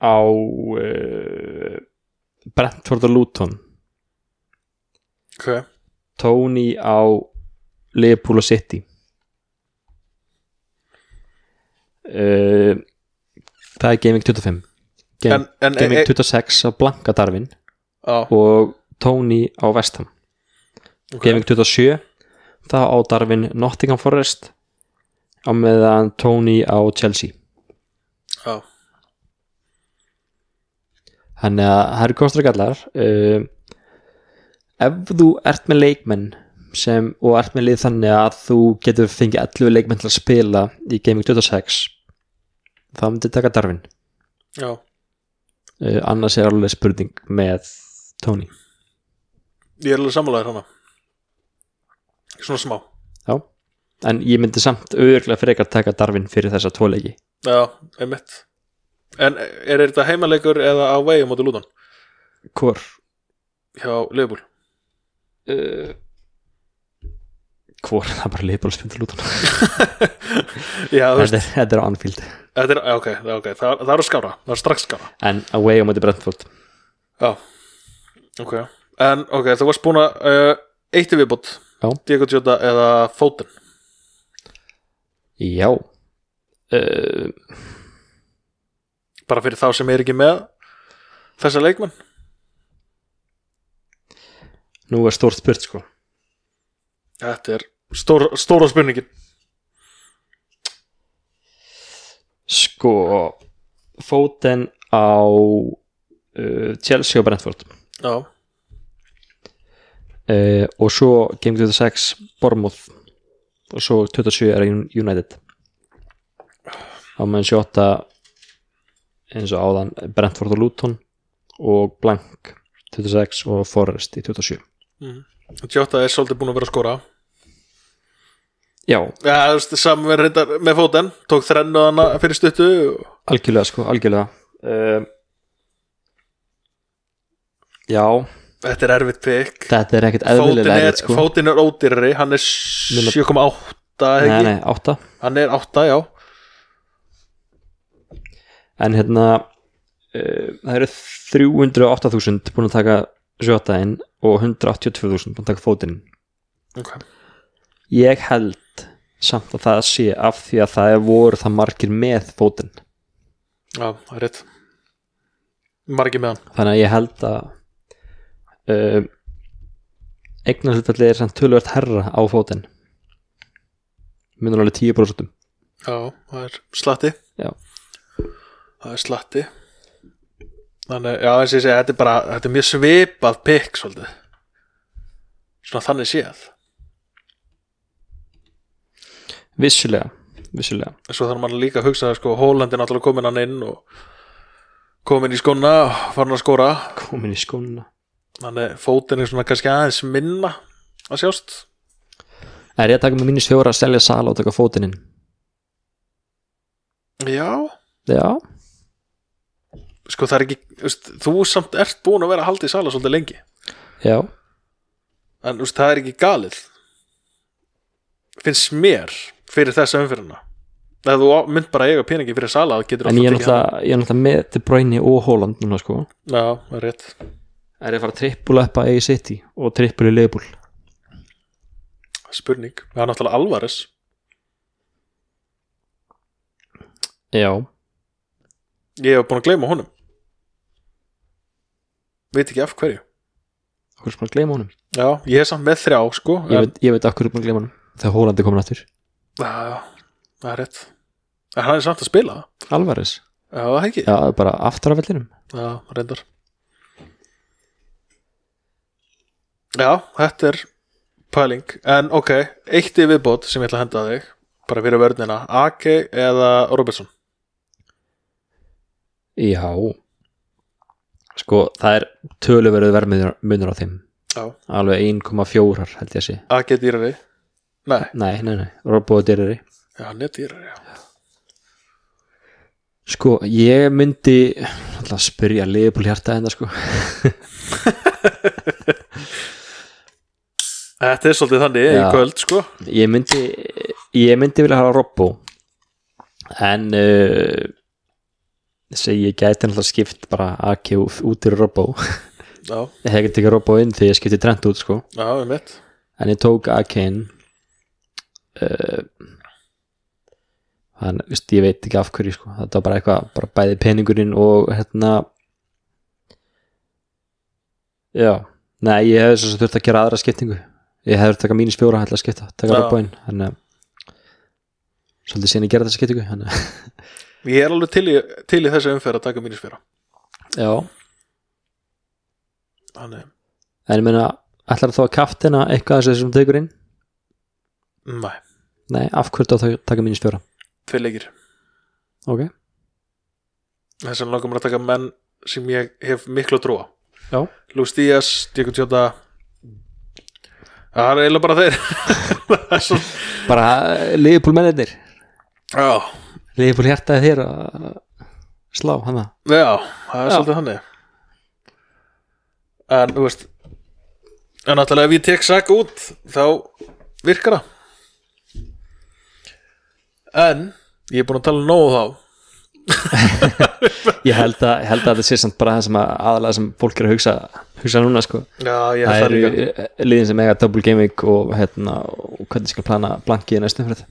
[SPEAKER 2] á uh, Brentford og Luton
[SPEAKER 1] ok
[SPEAKER 2] Tony á Liverpool og City uh, Það er Gaming 25 Game,
[SPEAKER 1] en, en,
[SPEAKER 2] Gaming
[SPEAKER 1] e,
[SPEAKER 2] 26 á Blanka Darwin
[SPEAKER 1] já,
[SPEAKER 2] og Tony á Vestham
[SPEAKER 1] ok
[SPEAKER 2] Gaming 27 þá á Darwin Nottingham Forest á meðan Tony á Chelsea
[SPEAKER 1] já,
[SPEAKER 2] þannig að það eru kostur og gallar um, ef þú ert með leikmenn sem, og ert með lið þannig að þú getur fengið 11 leikmenn til að spila í Gaming 26 oh þá myndi taka Darwin
[SPEAKER 1] já
[SPEAKER 2] uh, annars er alveg spurning með Tony
[SPEAKER 1] Ég er alveg sammálaður hana Svona smá
[SPEAKER 2] já. en ég myndi samt auðvörglega frekar taka Darwin fyrir þessa tvoleiki
[SPEAKER 1] Já, einmitt En er þetta heimaleikur eða á vegi móti Lúton
[SPEAKER 2] hvort
[SPEAKER 1] hjá Leifbúl?
[SPEAKER 2] uh, hvor það er bara liðbólspjöndur lútan
[SPEAKER 1] Já, þú veist,
[SPEAKER 2] þetta er- þetta er á Anfield
[SPEAKER 1] þetta er, já, ok, já, ok það, það er að skára, það er strax skára
[SPEAKER 2] en away á móti Brentford
[SPEAKER 1] Já, ok En, ok, þú varst búin að uh, eitt í viðbútt
[SPEAKER 2] Já.
[SPEAKER 1] Diego Jota eða Fóten
[SPEAKER 2] já uh,
[SPEAKER 1] Bara fyrir þá sem er ekki með þessa leikmenn
[SPEAKER 2] nú er stórt spurt sko
[SPEAKER 1] Þetta er stór, stóra spurningin
[SPEAKER 2] sko fóten á uh, Chelsea og Brentford
[SPEAKER 1] Já,
[SPEAKER 2] uh, og svo Game 26 Bournemouth og svo 27 er Un- United á meðan 28 eins og áðan Brentford og Luton og Blank 26 og Forrest í 27
[SPEAKER 1] Jota er svolítið búin að vera að skora
[SPEAKER 2] já,
[SPEAKER 1] Já, þú veist, saman með, reyndar, með fóten Tók þrennu hana fyrir stuttu og-
[SPEAKER 2] algjörlega sko, algjörlega um, já,
[SPEAKER 1] Þetta er erfitt pick
[SPEAKER 2] þetta er sko. ekkert
[SPEAKER 1] Fótinn
[SPEAKER 2] eðlilega
[SPEAKER 1] er,
[SPEAKER 2] erfitt sko
[SPEAKER 1] fótinn er ódýrari Hann er
[SPEAKER 2] Núna-
[SPEAKER 1] 7,8 eða
[SPEAKER 2] nei,
[SPEAKER 1] ekki?
[SPEAKER 2] nei, 8,
[SPEAKER 1] Hann er 8, já
[SPEAKER 2] en hérna uh, það eru 308.000 búin að taka sjótaðinn og 182.000 búin að taka fótinn
[SPEAKER 1] okay.
[SPEAKER 2] ég held samt að það sé af því að það voru það margir með fótinn
[SPEAKER 1] Já, það er rétt Margi með hann
[SPEAKER 2] þannig að ég held að uh, eignarhlutfalli er samt tölvöld herra á fótinn myndur alveg 10%
[SPEAKER 1] Já, það er slatti
[SPEAKER 2] Já.
[SPEAKER 1] Það er slatti Þannig, já, eins og ég segi, þetta er bara Þetta er mjög svipað pikk, svolítið Svona þannig séð
[SPEAKER 2] vissulega, vissulega.
[SPEAKER 1] Svo þarf mann líka að hugsa, sko, Hóland er náttúrulega komin hann inn og komin í skóna og farin að skora
[SPEAKER 2] komin í skóna
[SPEAKER 1] Þannig, fótinn er svona kannski aðeins minna að sjást
[SPEAKER 2] er ég að taka með mínus fjóra að selja sala og taka fótinn inn
[SPEAKER 1] Já,
[SPEAKER 2] já,
[SPEAKER 1] sko það er ekki þú veist, þú samt ert búin að vera að halda í sala svolítið lengi
[SPEAKER 2] já,
[SPEAKER 1] en þú veist, það er ekki galið finnst mér fyrir þessa umfyrirna eða þú á- mynd bara að eiga peningi fyrir sala það getur
[SPEAKER 2] en ég er
[SPEAKER 1] tekið hann.
[SPEAKER 2] náttúrulega ég er náttúrulega með De Bruyne og Holland núna sko
[SPEAKER 1] Já, það er rétt
[SPEAKER 2] er ég að fara trippul upp að A City og trippul í Leifbúl
[SPEAKER 1] spurning, það er náttúrulega Alvares
[SPEAKER 2] já,
[SPEAKER 1] ég hef búin að gleyma honum veit ekki af hverju
[SPEAKER 2] okkur sem að gleyma honum
[SPEAKER 1] já, ég er samt með þrjá sko
[SPEAKER 2] ég
[SPEAKER 1] en,
[SPEAKER 2] veit, ég veit okkur sem að gleyma honum þegar Holland er komin aftur
[SPEAKER 1] já, það er rétt en hann er samt að spila
[SPEAKER 2] Alvarez,
[SPEAKER 1] já, það ekki,
[SPEAKER 2] já, bara aftur af vellinum
[SPEAKER 1] já, reyndar já, þetta er pæling, en ok eitt í viðbót sem ég ætla að henda að þig bara fyrir vörnina, AK eða Robertson
[SPEAKER 2] já sko, það er töluverið vermiður munur á þeim
[SPEAKER 1] Já.
[SPEAKER 2] alveg 1,4 held ég að sé
[SPEAKER 1] AK er dýrari nei,
[SPEAKER 2] nei, nei, nei, Robbo Dyrri
[SPEAKER 1] já, hann er dýrari já.
[SPEAKER 2] Sko, ég myndi alltaf að spyrja liðbúl hjarta hérna sko
[SPEAKER 1] þetta er svolítið þannig
[SPEAKER 2] Já.
[SPEAKER 1] í kvöld sko
[SPEAKER 2] Ég myndi, ég myndi vilja hafa Robbo en uh, segi ég gæti alltaf skipt bara AK út í Robbo (laughs)
[SPEAKER 1] já,
[SPEAKER 2] ég hef ekki Robbo inn þegar ég skipti Trent út sko
[SPEAKER 1] já, við mitt
[SPEAKER 2] en ég tók AK inn uh, þannig, veist, ég veit ekki af hverju sko þetta var bara eitthvað, bara bæði peningurinn og hérna já, nei, ég hefði svo sem þurft að gera aðra skiptingu ég hefði þurft að taka mínus fjóra hætla að skipta, taka
[SPEAKER 1] Já.
[SPEAKER 2] robbóinn þannig að svolítið síðan ég gera þessa skiptingu eh, þannig að,
[SPEAKER 1] ég er alveg til í, til í þessu umferð að taka mínusfera
[SPEAKER 2] (laughs) já,
[SPEAKER 1] þannig,
[SPEAKER 2] en ég meina ætlar þá að kaftina eitthvað af þessu sem tegur inn
[SPEAKER 1] nei,
[SPEAKER 2] nei, af hverju þá að taka mínus fjóra
[SPEAKER 1] tveir leikir
[SPEAKER 2] ok,
[SPEAKER 1] þess vegna langar mér að taka menn sem ég hef miklu að trúa
[SPEAKER 2] Já.
[SPEAKER 1] Lús Díaz, Diego Tjóta það er eiginlega bara þeir (laughs) það er svo
[SPEAKER 2] bara eh, liðbúl mennir
[SPEAKER 1] já,
[SPEAKER 2] Leifur hjartaði þér að slá hana
[SPEAKER 1] já, það er
[SPEAKER 2] Já.
[SPEAKER 1] svolítið þannig en þú veist en náttúrulega ef ég tek sak út þá virkar það en ég er búin að tala nógu þá
[SPEAKER 2] Ég held að, held að þetta sé samt bara það sem að aðalega sem fólk er að hugsa, hugsa núna sko
[SPEAKER 1] já, ég er
[SPEAKER 2] Það
[SPEAKER 1] það líka
[SPEAKER 2] eru liðin sem eiga double gaming og, hérna, og hvernig skal plana blankið í næstum fyrir
[SPEAKER 1] já,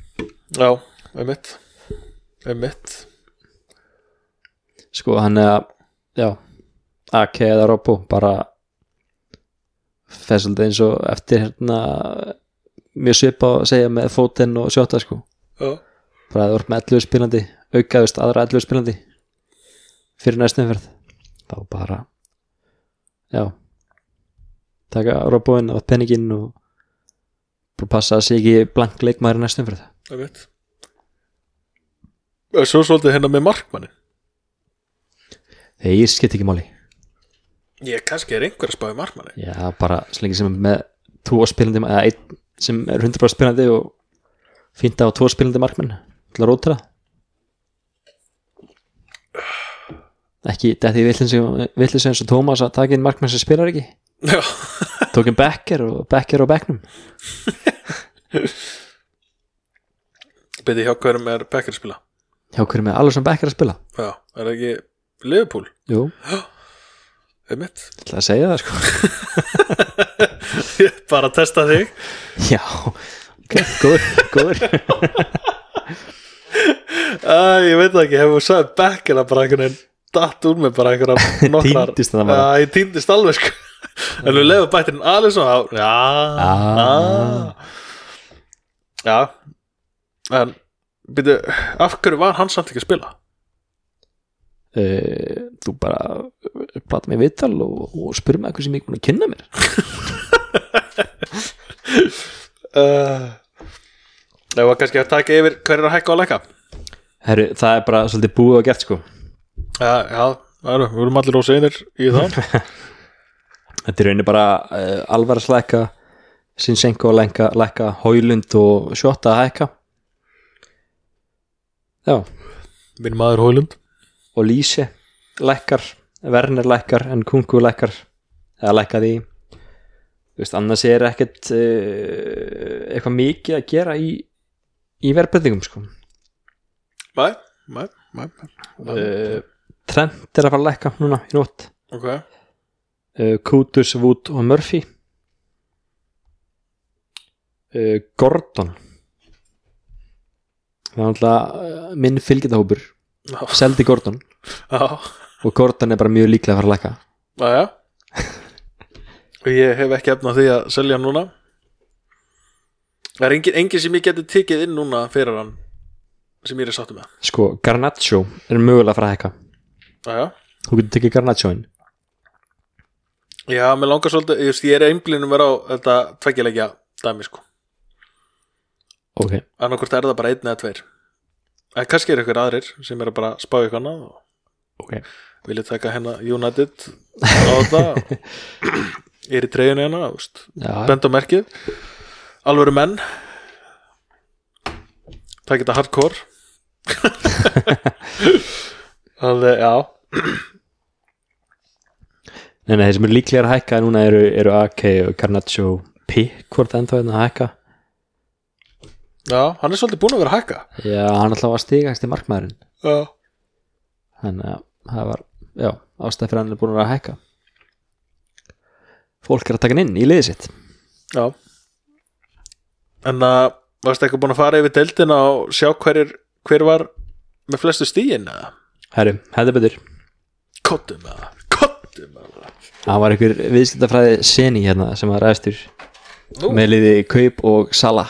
[SPEAKER 1] um mitt um mitt
[SPEAKER 2] Sko hann er að, já, AK eða Robbo bara fer svolítið eins og eftir hérna mjög svipa að segja með fótinn og sjóta sko
[SPEAKER 1] já,
[SPEAKER 2] bara að þú ert með 11 spilandi aukaðust aðra 11 spilandi fyrir næstu umferð þá bara já taka robóin og penningin og bara passa að sé ekki blank leikmaður í næstu umferð
[SPEAKER 1] Það veit Svo svolítið hérna með markmannin
[SPEAKER 2] þegar ég skipt ekki máli
[SPEAKER 1] Ég kannski er einhver að spáði markmannin
[SPEAKER 2] já bara slengi sem er með tvo spilandi eða einn sem er 100% spilandi og fínt á tvo spilandi markmenn til að rótra ekki þetta ég villis eins og Tómas að taka inn markmenn sem spilar ekki
[SPEAKER 1] Já,
[SPEAKER 2] tókum Becker og Becker og Becknum
[SPEAKER 1] Beti hjá hverjum er Becker að spila?
[SPEAKER 2] hjá hverjum er Alisson Becker að spila
[SPEAKER 1] Já, er það ekki Liverpool?
[SPEAKER 2] jú,
[SPEAKER 1] Er mitt?
[SPEAKER 2] ég ætla að segja það sko
[SPEAKER 1] Bara að testa þig
[SPEAKER 2] (laughs) já, ok, góður, góður (laughs)
[SPEAKER 1] Æ, ég veit það ekki, hefur sagði Becker að bara einhvern veginn datt úr mig bara (laughs) einhverja nokkar
[SPEAKER 2] Týndist þarna bara.
[SPEAKER 1] Já, ég týndist alveg sko En við lefum bættirinn Alisson á Já,
[SPEAKER 2] Ah.
[SPEAKER 1] já. Já En, byrju, af hverju var hann samt ekki að spila?
[SPEAKER 2] uh, þú bara eh, plata mig viðtal og, og spyr mig eitthvað sem ég er búin að kynna mér
[SPEAKER 1] Uh, Ef að kannski að taka yfir hverju er að hækka og lækka
[SPEAKER 2] Heru, það er bara svolítið búið og gert sko
[SPEAKER 1] Já, já, það eru, við erum allir ósa einir í það
[SPEAKER 2] þetta er rauninni bara uh, alvarsleika Sinsenko að lenka, lækka Hólund og Sjóta að hækka já,
[SPEAKER 1] Minn maður Hólund
[SPEAKER 2] og Líse lækkar, Werner lækkar en Kungu lækkar eða lækkaði í Þú veist, annars er ekkert uh, eitthvað mikið að gera í, í verðbendingum sko
[SPEAKER 1] Mæ, mæ, mæ
[SPEAKER 2] uh, Trent er að fara að lækka núna í nótt
[SPEAKER 1] Ok,
[SPEAKER 2] uh, Kutus, Wood og Murphy uh, Gordon það er alltaf minn fylgjitahópur
[SPEAKER 1] Já.
[SPEAKER 2] seldi Gordon
[SPEAKER 1] já,
[SPEAKER 2] og Gordon er bara mjög líklega að fara að lækka
[SPEAKER 1] já, já Og ég hef ekki efnað því að selja hann núna Það er engin, engin sem ég geti tekið inn núna fyrir hann sem ég er sáttu með
[SPEAKER 2] sko, Garnaccio er mögulega að fara að hækka
[SPEAKER 1] Já, já
[SPEAKER 2] þú getur tekið Garnaccio inn
[SPEAKER 1] Já, mér langar svolítið, just, ég er einblínum vera á þetta tveggjuleikja dæmi sko
[SPEAKER 2] ok,
[SPEAKER 1] annarkvort er það bara einn eða tveir en kannski er ykkur aðrir sem eru bara að spá ykkur annað og
[SPEAKER 2] ok
[SPEAKER 1] vilja taka hérna United á (laughs) þetta er í treyjunni hérna þú veist,
[SPEAKER 2] já,
[SPEAKER 1] bend á merkið alvöru menn það geta hardcore (laughs) alveg, já
[SPEAKER 2] nei, nei, þeir sem eru líklega að hækka núna eru, eru AK og Garnaccio Pickford ennþá hérna að hækka
[SPEAKER 1] já, hann er svolítið búin að vera að hækka
[SPEAKER 2] já, hann alltaf var stigast í markmaðurinn
[SPEAKER 1] já,
[SPEAKER 2] þannig að það var já, ástæð fyrir hann er búin að vera að hækka fólk er að taka hann inn í liðið sitt
[SPEAKER 1] já. en að varstu eitthvað búin að fara yfir deildina og sjá hverjir, hver var með flestu stíin eða?
[SPEAKER 2] herru, hefði betur
[SPEAKER 1] Kottu með það Kottu með það
[SPEAKER 2] það var einhver viðskiptafræði seni hérna sem var ræðstur með liði Kaup og Sala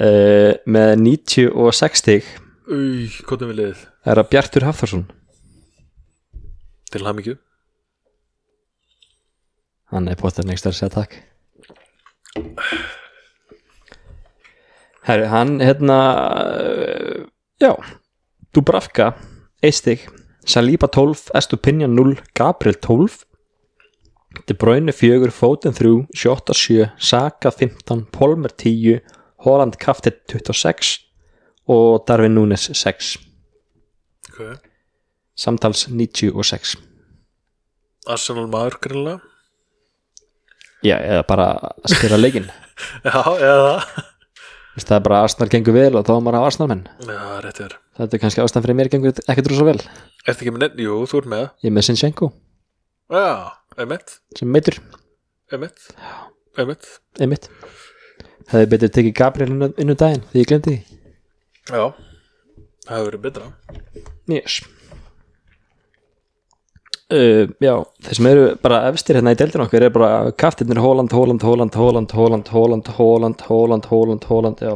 [SPEAKER 2] uh, með 96 stig
[SPEAKER 1] Új, Kottu með liðið
[SPEAKER 2] er að Bjartur Hafþórsson
[SPEAKER 1] Til hamingju
[SPEAKER 2] hann er pottar neitt að segja takk herru, hann hérna eh, já, Dubravka Eistig, Saliba 12 Estupinja 0, Gabriel 12 De Bruyne 4 Foden 3, Sjóta 7 Saka 15, Polmer 10 Holland Kaftet 26 og Darwin Núnes 6
[SPEAKER 1] okay.
[SPEAKER 2] samtals 96
[SPEAKER 1] Arsenal maður greinlega
[SPEAKER 2] já, eða bara að spila leikinn
[SPEAKER 1] Já, eða
[SPEAKER 2] Þú veist, það er bara að Arsenal gengur vel og þá er maður að Arsenal menn
[SPEAKER 1] Já, rétt er
[SPEAKER 2] Þetta er kannski ástæðan fyrir mér gengur ekkert rosa vel Ég
[SPEAKER 1] Ertu ekki með nefn? Jú, þú ert með
[SPEAKER 2] er með Sinchenko
[SPEAKER 1] Já, emitt,
[SPEAKER 2] sem meitur,
[SPEAKER 1] emitt Emitt
[SPEAKER 2] einmitt Hefði betur tekið Gabriel inn, á- inn um daginn því ég glemdi því
[SPEAKER 1] Já Það hefur verið betra
[SPEAKER 2] yes. uh, Já, þeir sem eru bara efstir hérna í deildin okkar er bara kaftirnir Holland, Holland, Holland, Holland, Holland, Holland, Holland, Holland, Holland, Holland, já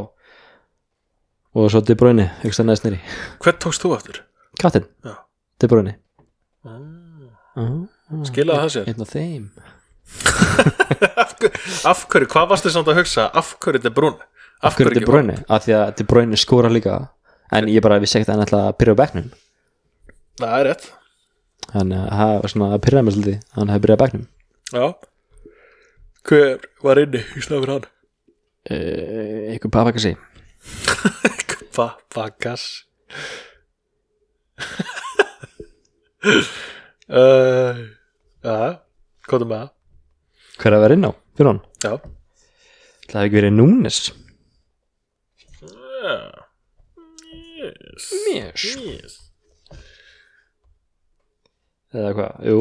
[SPEAKER 2] og svo De Bruyne, ykkur stað næst nýri
[SPEAKER 1] Hvern tókst þú aftur?
[SPEAKER 2] Kaftin,
[SPEAKER 1] Já.
[SPEAKER 2] De Bruyne
[SPEAKER 1] Mm.
[SPEAKER 2] uh,
[SPEAKER 1] Skilaði það sér
[SPEAKER 2] Einn af þeim
[SPEAKER 1] af, hver- af hverju, hvað varstu samt að hugsa? Af hverju þetta er brún?
[SPEAKER 2] af hverju De Bruyne, af því að De Bruyne skora líka en ég bara vissi ekkert að hann ætla að byrja á bekknum
[SPEAKER 1] Það er rétt
[SPEAKER 2] þannig að það var svona að pyrra mig svolítið að hann hefði byrjað á bekknum
[SPEAKER 1] Já Hver var inni í slafur hann? (laughs)
[SPEAKER 2] uh, einhver papakassi
[SPEAKER 1] (laughs) Papagas uh, Já, komdu með það
[SPEAKER 2] hver að vera inn á fyrir hann
[SPEAKER 1] Já,
[SPEAKER 2] Ætla það hafi ekki verið Núnes
[SPEAKER 1] Yes.
[SPEAKER 2] Yes.
[SPEAKER 1] yes.
[SPEAKER 2] eða hvað, jú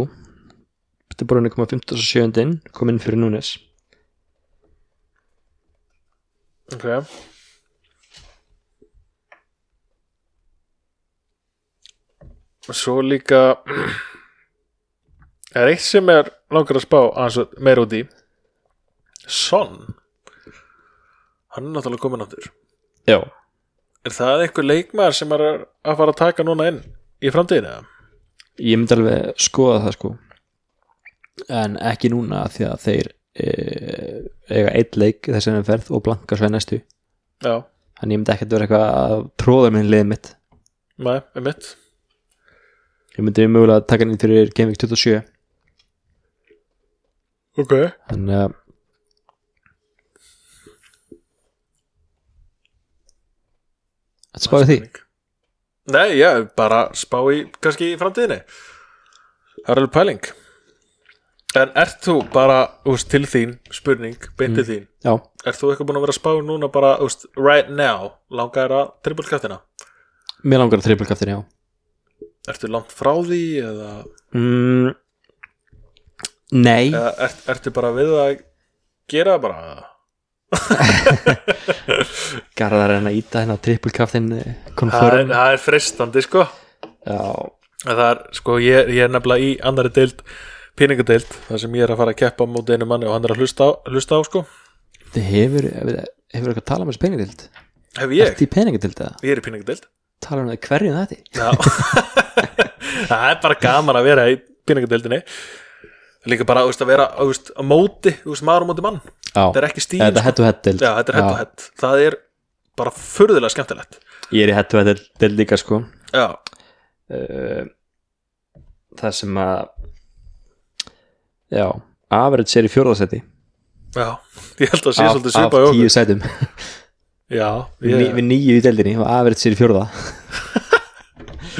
[SPEAKER 2] De Bruyne kom að 57. inn kom inn fyrir Núnes
[SPEAKER 1] Ok Og Svo líka (clears throat) Er eitt sem er langar að spá aðeins að- meira út í Son Hann er náttúrulega komin áttur
[SPEAKER 2] já,
[SPEAKER 1] Er það einhver leikmaður sem er að fara að taka núna inn í framtíðinu? eða?
[SPEAKER 2] ég myndi alveg skoða það sko en ekki núna af því að þeir e, eiga eitt leik þessi enn ferð og blanka svo í næstu
[SPEAKER 1] Já,
[SPEAKER 2] en ég myndi ekkert vera eitthvað að tróða minn liðið mitt
[SPEAKER 1] nei, er mitt
[SPEAKER 2] ég myndi mögulega taka hann í fyrir Gameweek 27
[SPEAKER 1] Ok
[SPEAKER 2] þannig að Þetta spáði því
[SPEAKER 1] Nei, já, bara spá í kannski í framtíðinni Það er alveg pæling En ert þú bara úst, til þín spurning, beintið mm. þín
[SPEAKER 2] Já,
[SPEAKER 1] Ert þú eitthvað búin að vera að spá núna bara úst, right now, langar að hérna? trippulkattina
[SPEAKER 2] mér langar að trippelkaftin, já
[SPEAKER 1] Ertu langt frá því eða,
[SPEAKER 2] mm, Nei,
[SPEAKER 1] eða ert, ertu bara við að gera það bara eða?
[SPEAKER 2] garðar en að íta hérna trippelkaftin
[SPEAKER 1] það er,
[SPEAKER 2] konfirm
[SPEAKER 1] það er fristandi sko
[SPEAKER 2] Já,
[SPEAKER 1] En það er, sko, ég, ég er nefnilega í annari deild peningadeild, þar sem ég er að fara að keppa á móti einu manni og hann er að hlusta á, hlusta á sko
[SPEAKER 2] þið hefur hefur eitthvað talað með þessu peningadild
[SPEAKER 1] Hef
[SPEAKER 2] Ert
[SPEAKER 1] ég,
[SPEAKER 2] í peningadild eða?
[SPEAKER 1] ég er í peningadeild
[SPEAKER 2] Talar um hann að hverjum þetta?
[SPEAKER 1] Já (laughs) Það er bara gaman að vera í pinningadeildinni Líka bara þú veist, að vera þú veist, á móti, þú veist, maður á móti mann Það
[SPEAKER 2] Já,
[SPEAKER 1] er ekki stíl
[SPEAKER 2] þetta
[SPEAKER 1] sko.
[SPEAKER 2] er hett og hett dild
[SPEAKER 1] Já, þetta er hett og hett Það er bara furðulega skemmtilegt
[SPEAKER 2] Ég er í hett og hett dild líka sko
[SPEAKER 1] Já,
[SPEAKER 2] uh, það sem að já, average er í fjórðasetti
[SPEAKER 1] já Ég held að sé
[SPEAKER 2] af,
[SPEAKER 1] svolítið
[SPEAKER 2] af
[SPEAKER 1] svipað í
[SPEAKER 2] tíu
[SPEAKER 1] okkur
[SPEAKER 2] sætum
[SPEAKER 1] Já,
[SPEAKER 2] yeah. Ný,
[SPEAKER 1] ég,
[SPEAKER 2] við nýju í deldinni og average er í fjórða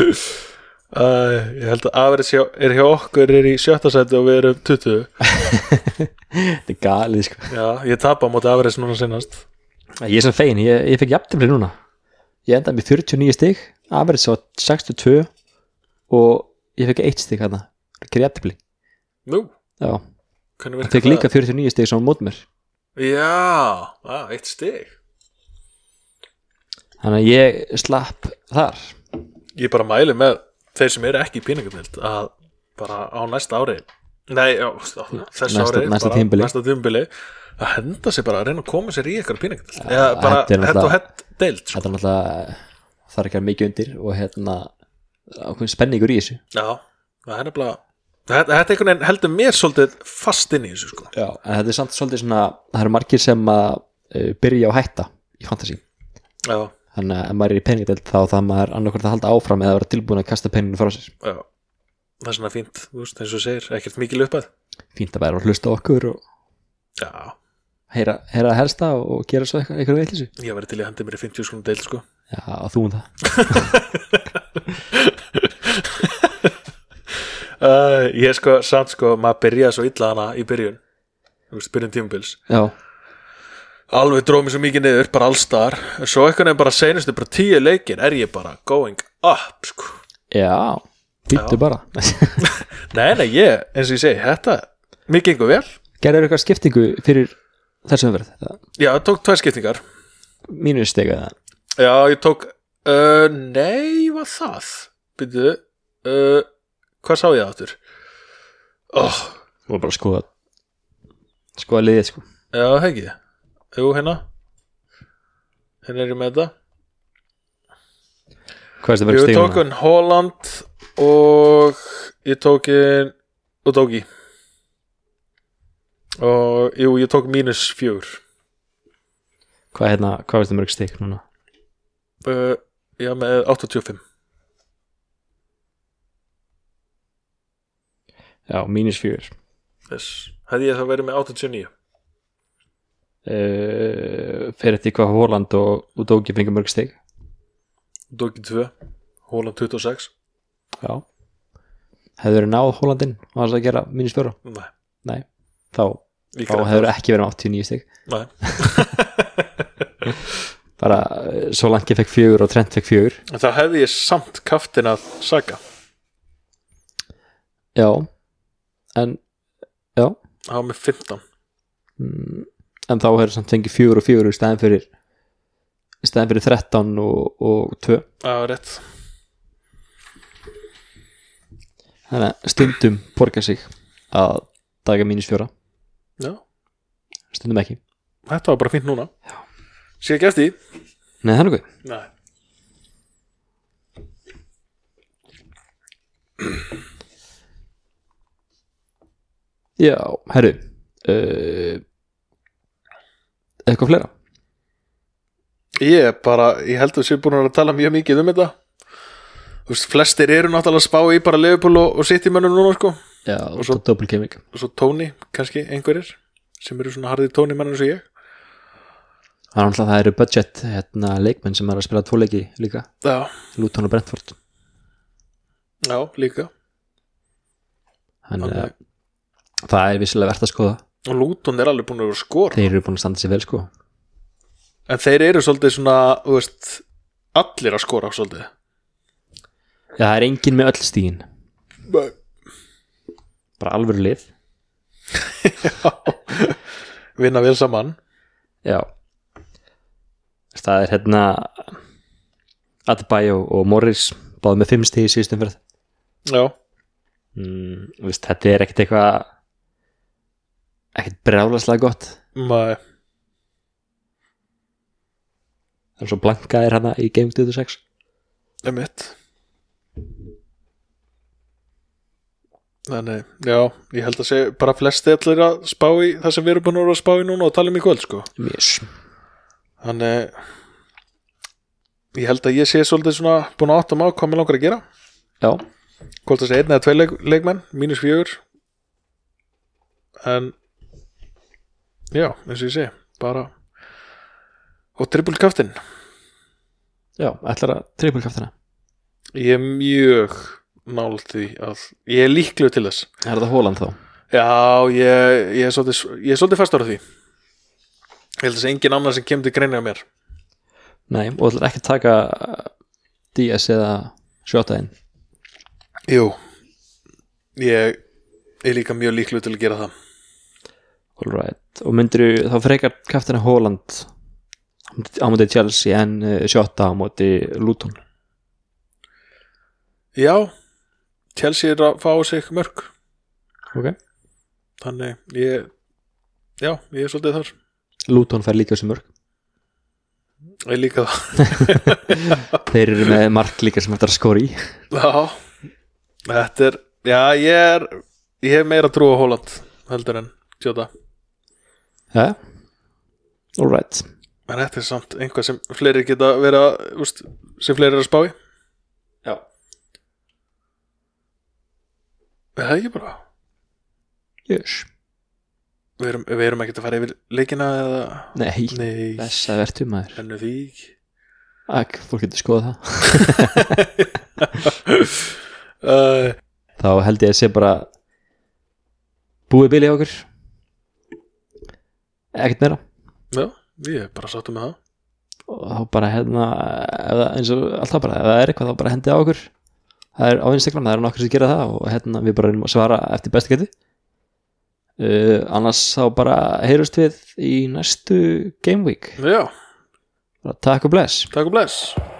[SPEAKER 1] uh, ég held að Average hjá- er hjá okkur er í sjötta sæti og við erum 20
[SPEAKER 2] þetta er galið sko
[SPEAKER 1] Já, ég tapa á móti Average núna sinnast
[SPEAKER 2] ég er sem fein, ég, ég fekk jafntefli núna ég endaði með 49 stig average var 62 og ég fekk 1 stig hérna fyrir jafntefli
[SPEAKER 1] Nú,
[SPEAKER 2] já,
[SPEAKER 1] hvernig
[SPEAKER 2] ég
[SPEAKER 1] virkar
[SPEAKER 2] fekk líka 49 stig sem var mót mér
[SPEAKER 1] Já, á, eitt stig
[SPEAKER 2] þannig að ég slapp þar
[SPEAKER 1] ég bara mæli með þeir sem eru ekki í píningarnild að bara á næsta ári nei, já, þessu
[SPEAKER 2] Næsta-
[SPEAKER 1] ári
[SPEAKER 2] næsta
[SPEAKER 1] bara
[SPEAKER 2] tímabili.
[SPEAKER 1] næsta tímbili að henda sér bara að reyna að koma sér í eitthvað píningarnild eða bara
[SPEAKER 2] þetta er
[SPEAKER 1] hett og
[SPEAKER 2] náttúrulega-
[SPEAKER 1] hett deild sko.
[SPEAKER 2] þetta er náttúrulega það er ekki að mikið undir og hérna ákveðin spenningur í þessu
[SPEAKER 1] já, það er nefnilega þetta þetta einhvern veginn heldur mér svolítið fast inn í þessu sko
[SPEAKER 2] Já, en þetta er samt svolítið svona það eru margir sem að uh, byrja á hætta í fantasy,
[SPEAKER 1] já,
[SPEAKER 2] þannig að ef maður er í peningadelt þá það maður annarkvort að halda áfram eða vera tilbúin að kasta peninginu frá sér
[SPEAKER 1] já það er svona fínt, þú veist, eins og þú segir ekkert mikil uppæð
[SPEAKER 2] fínt að vera að hlusta á okkur og
[SPEAKER 1] já,
[SPEAKER 2] heyra, heyra að helsta og gera svo eitthvað, eitthvað veitlisu
[SPEAKER 1] ég væri til í að hendi mér í 50 skonum deild sko
[SPEAKER 2] Já, og þú um það
[SPEAKER 1] uh, ég sko, samt sko, maður byrjaði svo illa hana í byrjun þú veist, byrjun tímubils
[SPEAKER 2] Já,
[SPEAKER 1] alveg dróð mér svo mikið niður, bara allstar en svo einhvern veginn bara senustu, bara tíu leikin er ég bara going up sko.
[SPEAKER 2] já, býttu
[SPEAKER 1] Já.
[SPEAKER 2] bara (laughs)
[SPEAKER 1] nei, nei, ég, eins og ég segi, þetta mér gengur vel,
[SPEAKER 2] Gerður eitthvað skiptingu fyrir þessum verð eða
[SPEAKER 1] já, ég tók tvær skiptingar
[SPEAKER 2] mínu stega eða
[SPEAKER 1] já, ég tók uh, nei, var það byrju, uh, hvað sá ég það áttur oh,
[SPEAKER 2] og bara skoða skoða liðið sko
[SPEAKER 1] já, hegi jú, hérna hérna er ég með þetta
[SPEAKER 2] Hvað er þetta verið
[SPEAKER 1] Ég tók
[SPEAKER 2] stegum?
[SPEAKER 1] hann Holland og ég tók hann og Dóki og jú, ég tók mínus fjögur
[SPEAKER 2] Hvað, hérna, hvað er þetta mörg steg núna?
[SPEAKER 1] uh, já, með 85
[SPEAKER 2] Já, mínus fjögur
[SPEAKER 1] yes. hefði ég þá verið með 89
[SPEAKER 2] uh, fer eftir hvað Holland og, og Dóki fengur mörg stig
[SPEAKER 1] Dóki 2, Holland 26
[SPEAKER 2] já hefur verið náð Hollandin og hans að gera mínus fjóra
[SPEAKER 1] nei,
[SPEAKER 2] þá
[SPEAKER 1] Í
[SPEAKER 2] þá hefur ekki verið með 89 stig
[SPEAKER 1] Nei.
[SPEAKER 2] bara eh, svo langi fekk fjögur og trend fekk fjögur
[SPEAKER 1] En þá hefði ég samt kaftin að Saga
[SPEAKER 2] já en já
[SPEAKER 1] Það var með 15
[SPEAKER 2] Mm, en þá hefur samt fengið fjögur og fjögur í stæðin fyrir í stæðin fyrir 13 og, og 2
[SPEAKER 1] Það var rétt
[SPEAKER 2] þannig að stundum borga sig að daga mínus fjóra
[SPEAKER 1] Já,
[SPEAKER 2] stundum ekki
[SPEAKER 1] þetta var bara fínt núna Sér ekki eftir því?
[SPEAKER 2] Nei, það er nokkuð
[SPEAKER 1] Nei
[SPEAKER 2] Já, herru uh, Eitthvað fleira
[SPEAKER 1] Ég er bara, ég held að sér búin að tala mjög mikið um þetta Þú veist, flestir eru náttúrulega að spá í bara Leopold og, og City mönnum núna sko og
[SPEAKER 2] Já, og
[SPEAKER 1] svo-
[SPEAKER 2] svo double gaming
[SPEAKER 1] svo Tony, kannski einhverjir sem eru svona harði Tony mennum eins og ég
[SPEAKER 2] Það er alltaf það eru budget hérna, leikmenn sem er að spila tvo leiki líka
[SPEAKER 1] Já,
[SPEAKER 2] Luton og Brentford
[SPEAKER 1] já, líka
[SPEAKER 2] Þannig
[SPEAKER 1] Ok.
[SPEAKER 2] að það er vissilega verðt að skoða
[SPEAKER 1] og Luton er alveg búin að vera að skora
[SPEAKER 2] Þeir eru búin að standa sér vel sko
[SPEAKER 1] en þeir eru svolítið svona, þú veist allir að skora svolítið
[SPEAKER 2] Já, það er engin með öll stígin
[SPEAKER 1] Nei.
[SPEAKER 2] Bara alvöru lið
[SPEAKER 1] (laughs) vinna vel saman
[SPEAKER 2] Já Það er hérna Adebayo og Morris báðu með fimm stíð í síðustum fyrir
[SPEAKER 1] Já,
[SPEAKER 2] mm, veist, Þetta er ekkert eitthvað ekkert brjálaslega gott
[SPEAKER 1] maður,
[SPEAKER 2] en svo blanka er hana í Game 26
[SPEAKER 1] emitt Þannig, já, ég held að segja bara flesti allir að spá í það sem við erum búin að vera að spá í núna og tala um í kvöld sko
[SPEAKER 2] yes.
[SPEAKER 1] Þannig eh, ég held að ég sé svolítið svona búin að áttum á hvað mér langar að gera
[SPEAKER 2] Já,
[SPEAKER 1] hvort þessi einn eða tvei leik, leikmenn mínus fjögur en já, eins og ég sé bara og triple kaftin
[SPEAKER 2] já, ætlar að trippulkaftina
[SPEAKER 1] ég er mjög nált því að ég er líklu til þess
[SPEAKER 2] Er það Hóland þá?
[SPEAKER 1] já, ég, ég er svolítið ég er svolítið fastur á því ég held að þessi engin annar sem kemdi greina á mér
[SPEAKER 2] Nei, og ætlar ekki að taka uh, DS eða sjótaðinn
[SPEAKER 1] jú ég er líka mjög líklu til að gera það
[SPEAKER 2] Alright, og myndir þá frekar kaftina Hóland á móti Chelsea en uh, sjóta á móti Luton
[SPEAKER 1] Já, Chelsea er að fá á sig mörg
[SPEAKER 2] Ok.
[SPEAKER 1] Þannig ég Já, ég er svolítið þar
[SPEAKER 2] Luton fær líka sem mörg
[SPEAKER 1] Ég líka það (laughs)
[SPEAKER 2] Þeir eru með mark líka sem eftir að skora í
[SPEAKER 1] Já, þetta er Já, ég er Ég hef meira trú á Holland heldur en Jota
[SPEAKER 2] Já, alright
[SPEAKER 1] En þetta er samt einhvað sem fleiri geta vera úst, sem fleiri er að spá í
[SPEAKER 2] Já
[SPEAKER 1] Er Það er ekki bara
[SPEAKER 2] Yes.
[SPEAKER 1] Við erum, við erum ekki að fara yfir leikina eða
[SPEAKER 2] Nei,
[SPEAKER 1] Nei,
[SPEAKER 2] þess að verðtum maður
[SPEAKER 1] ennu því ekki (laughs)
[SPEAKER 2] Ak, fólk getur skoðað það
[SPEAKER 1] uh,
[SPEAKER 2] Þá held ég að sé bara búið bilið hjá okkur Ekkert meira
[SPEAKER 1] Já, ég er bara sáttum með það
[SPEAKER 2] og þá bara hérna ef það- eins og alltaf bara, ef það er eitthvað þá bara hendið á okkur það er á Instagram, það eru nokkur sem gera það og hérna við bara reynum að svara eftir bestu geti uh, annars þá bara heyrust við í næstu Game Week
[SPEAKER 1] Já,
[SPEAKER 2] bara takk og bless
[SPEAKER 1] takk og bless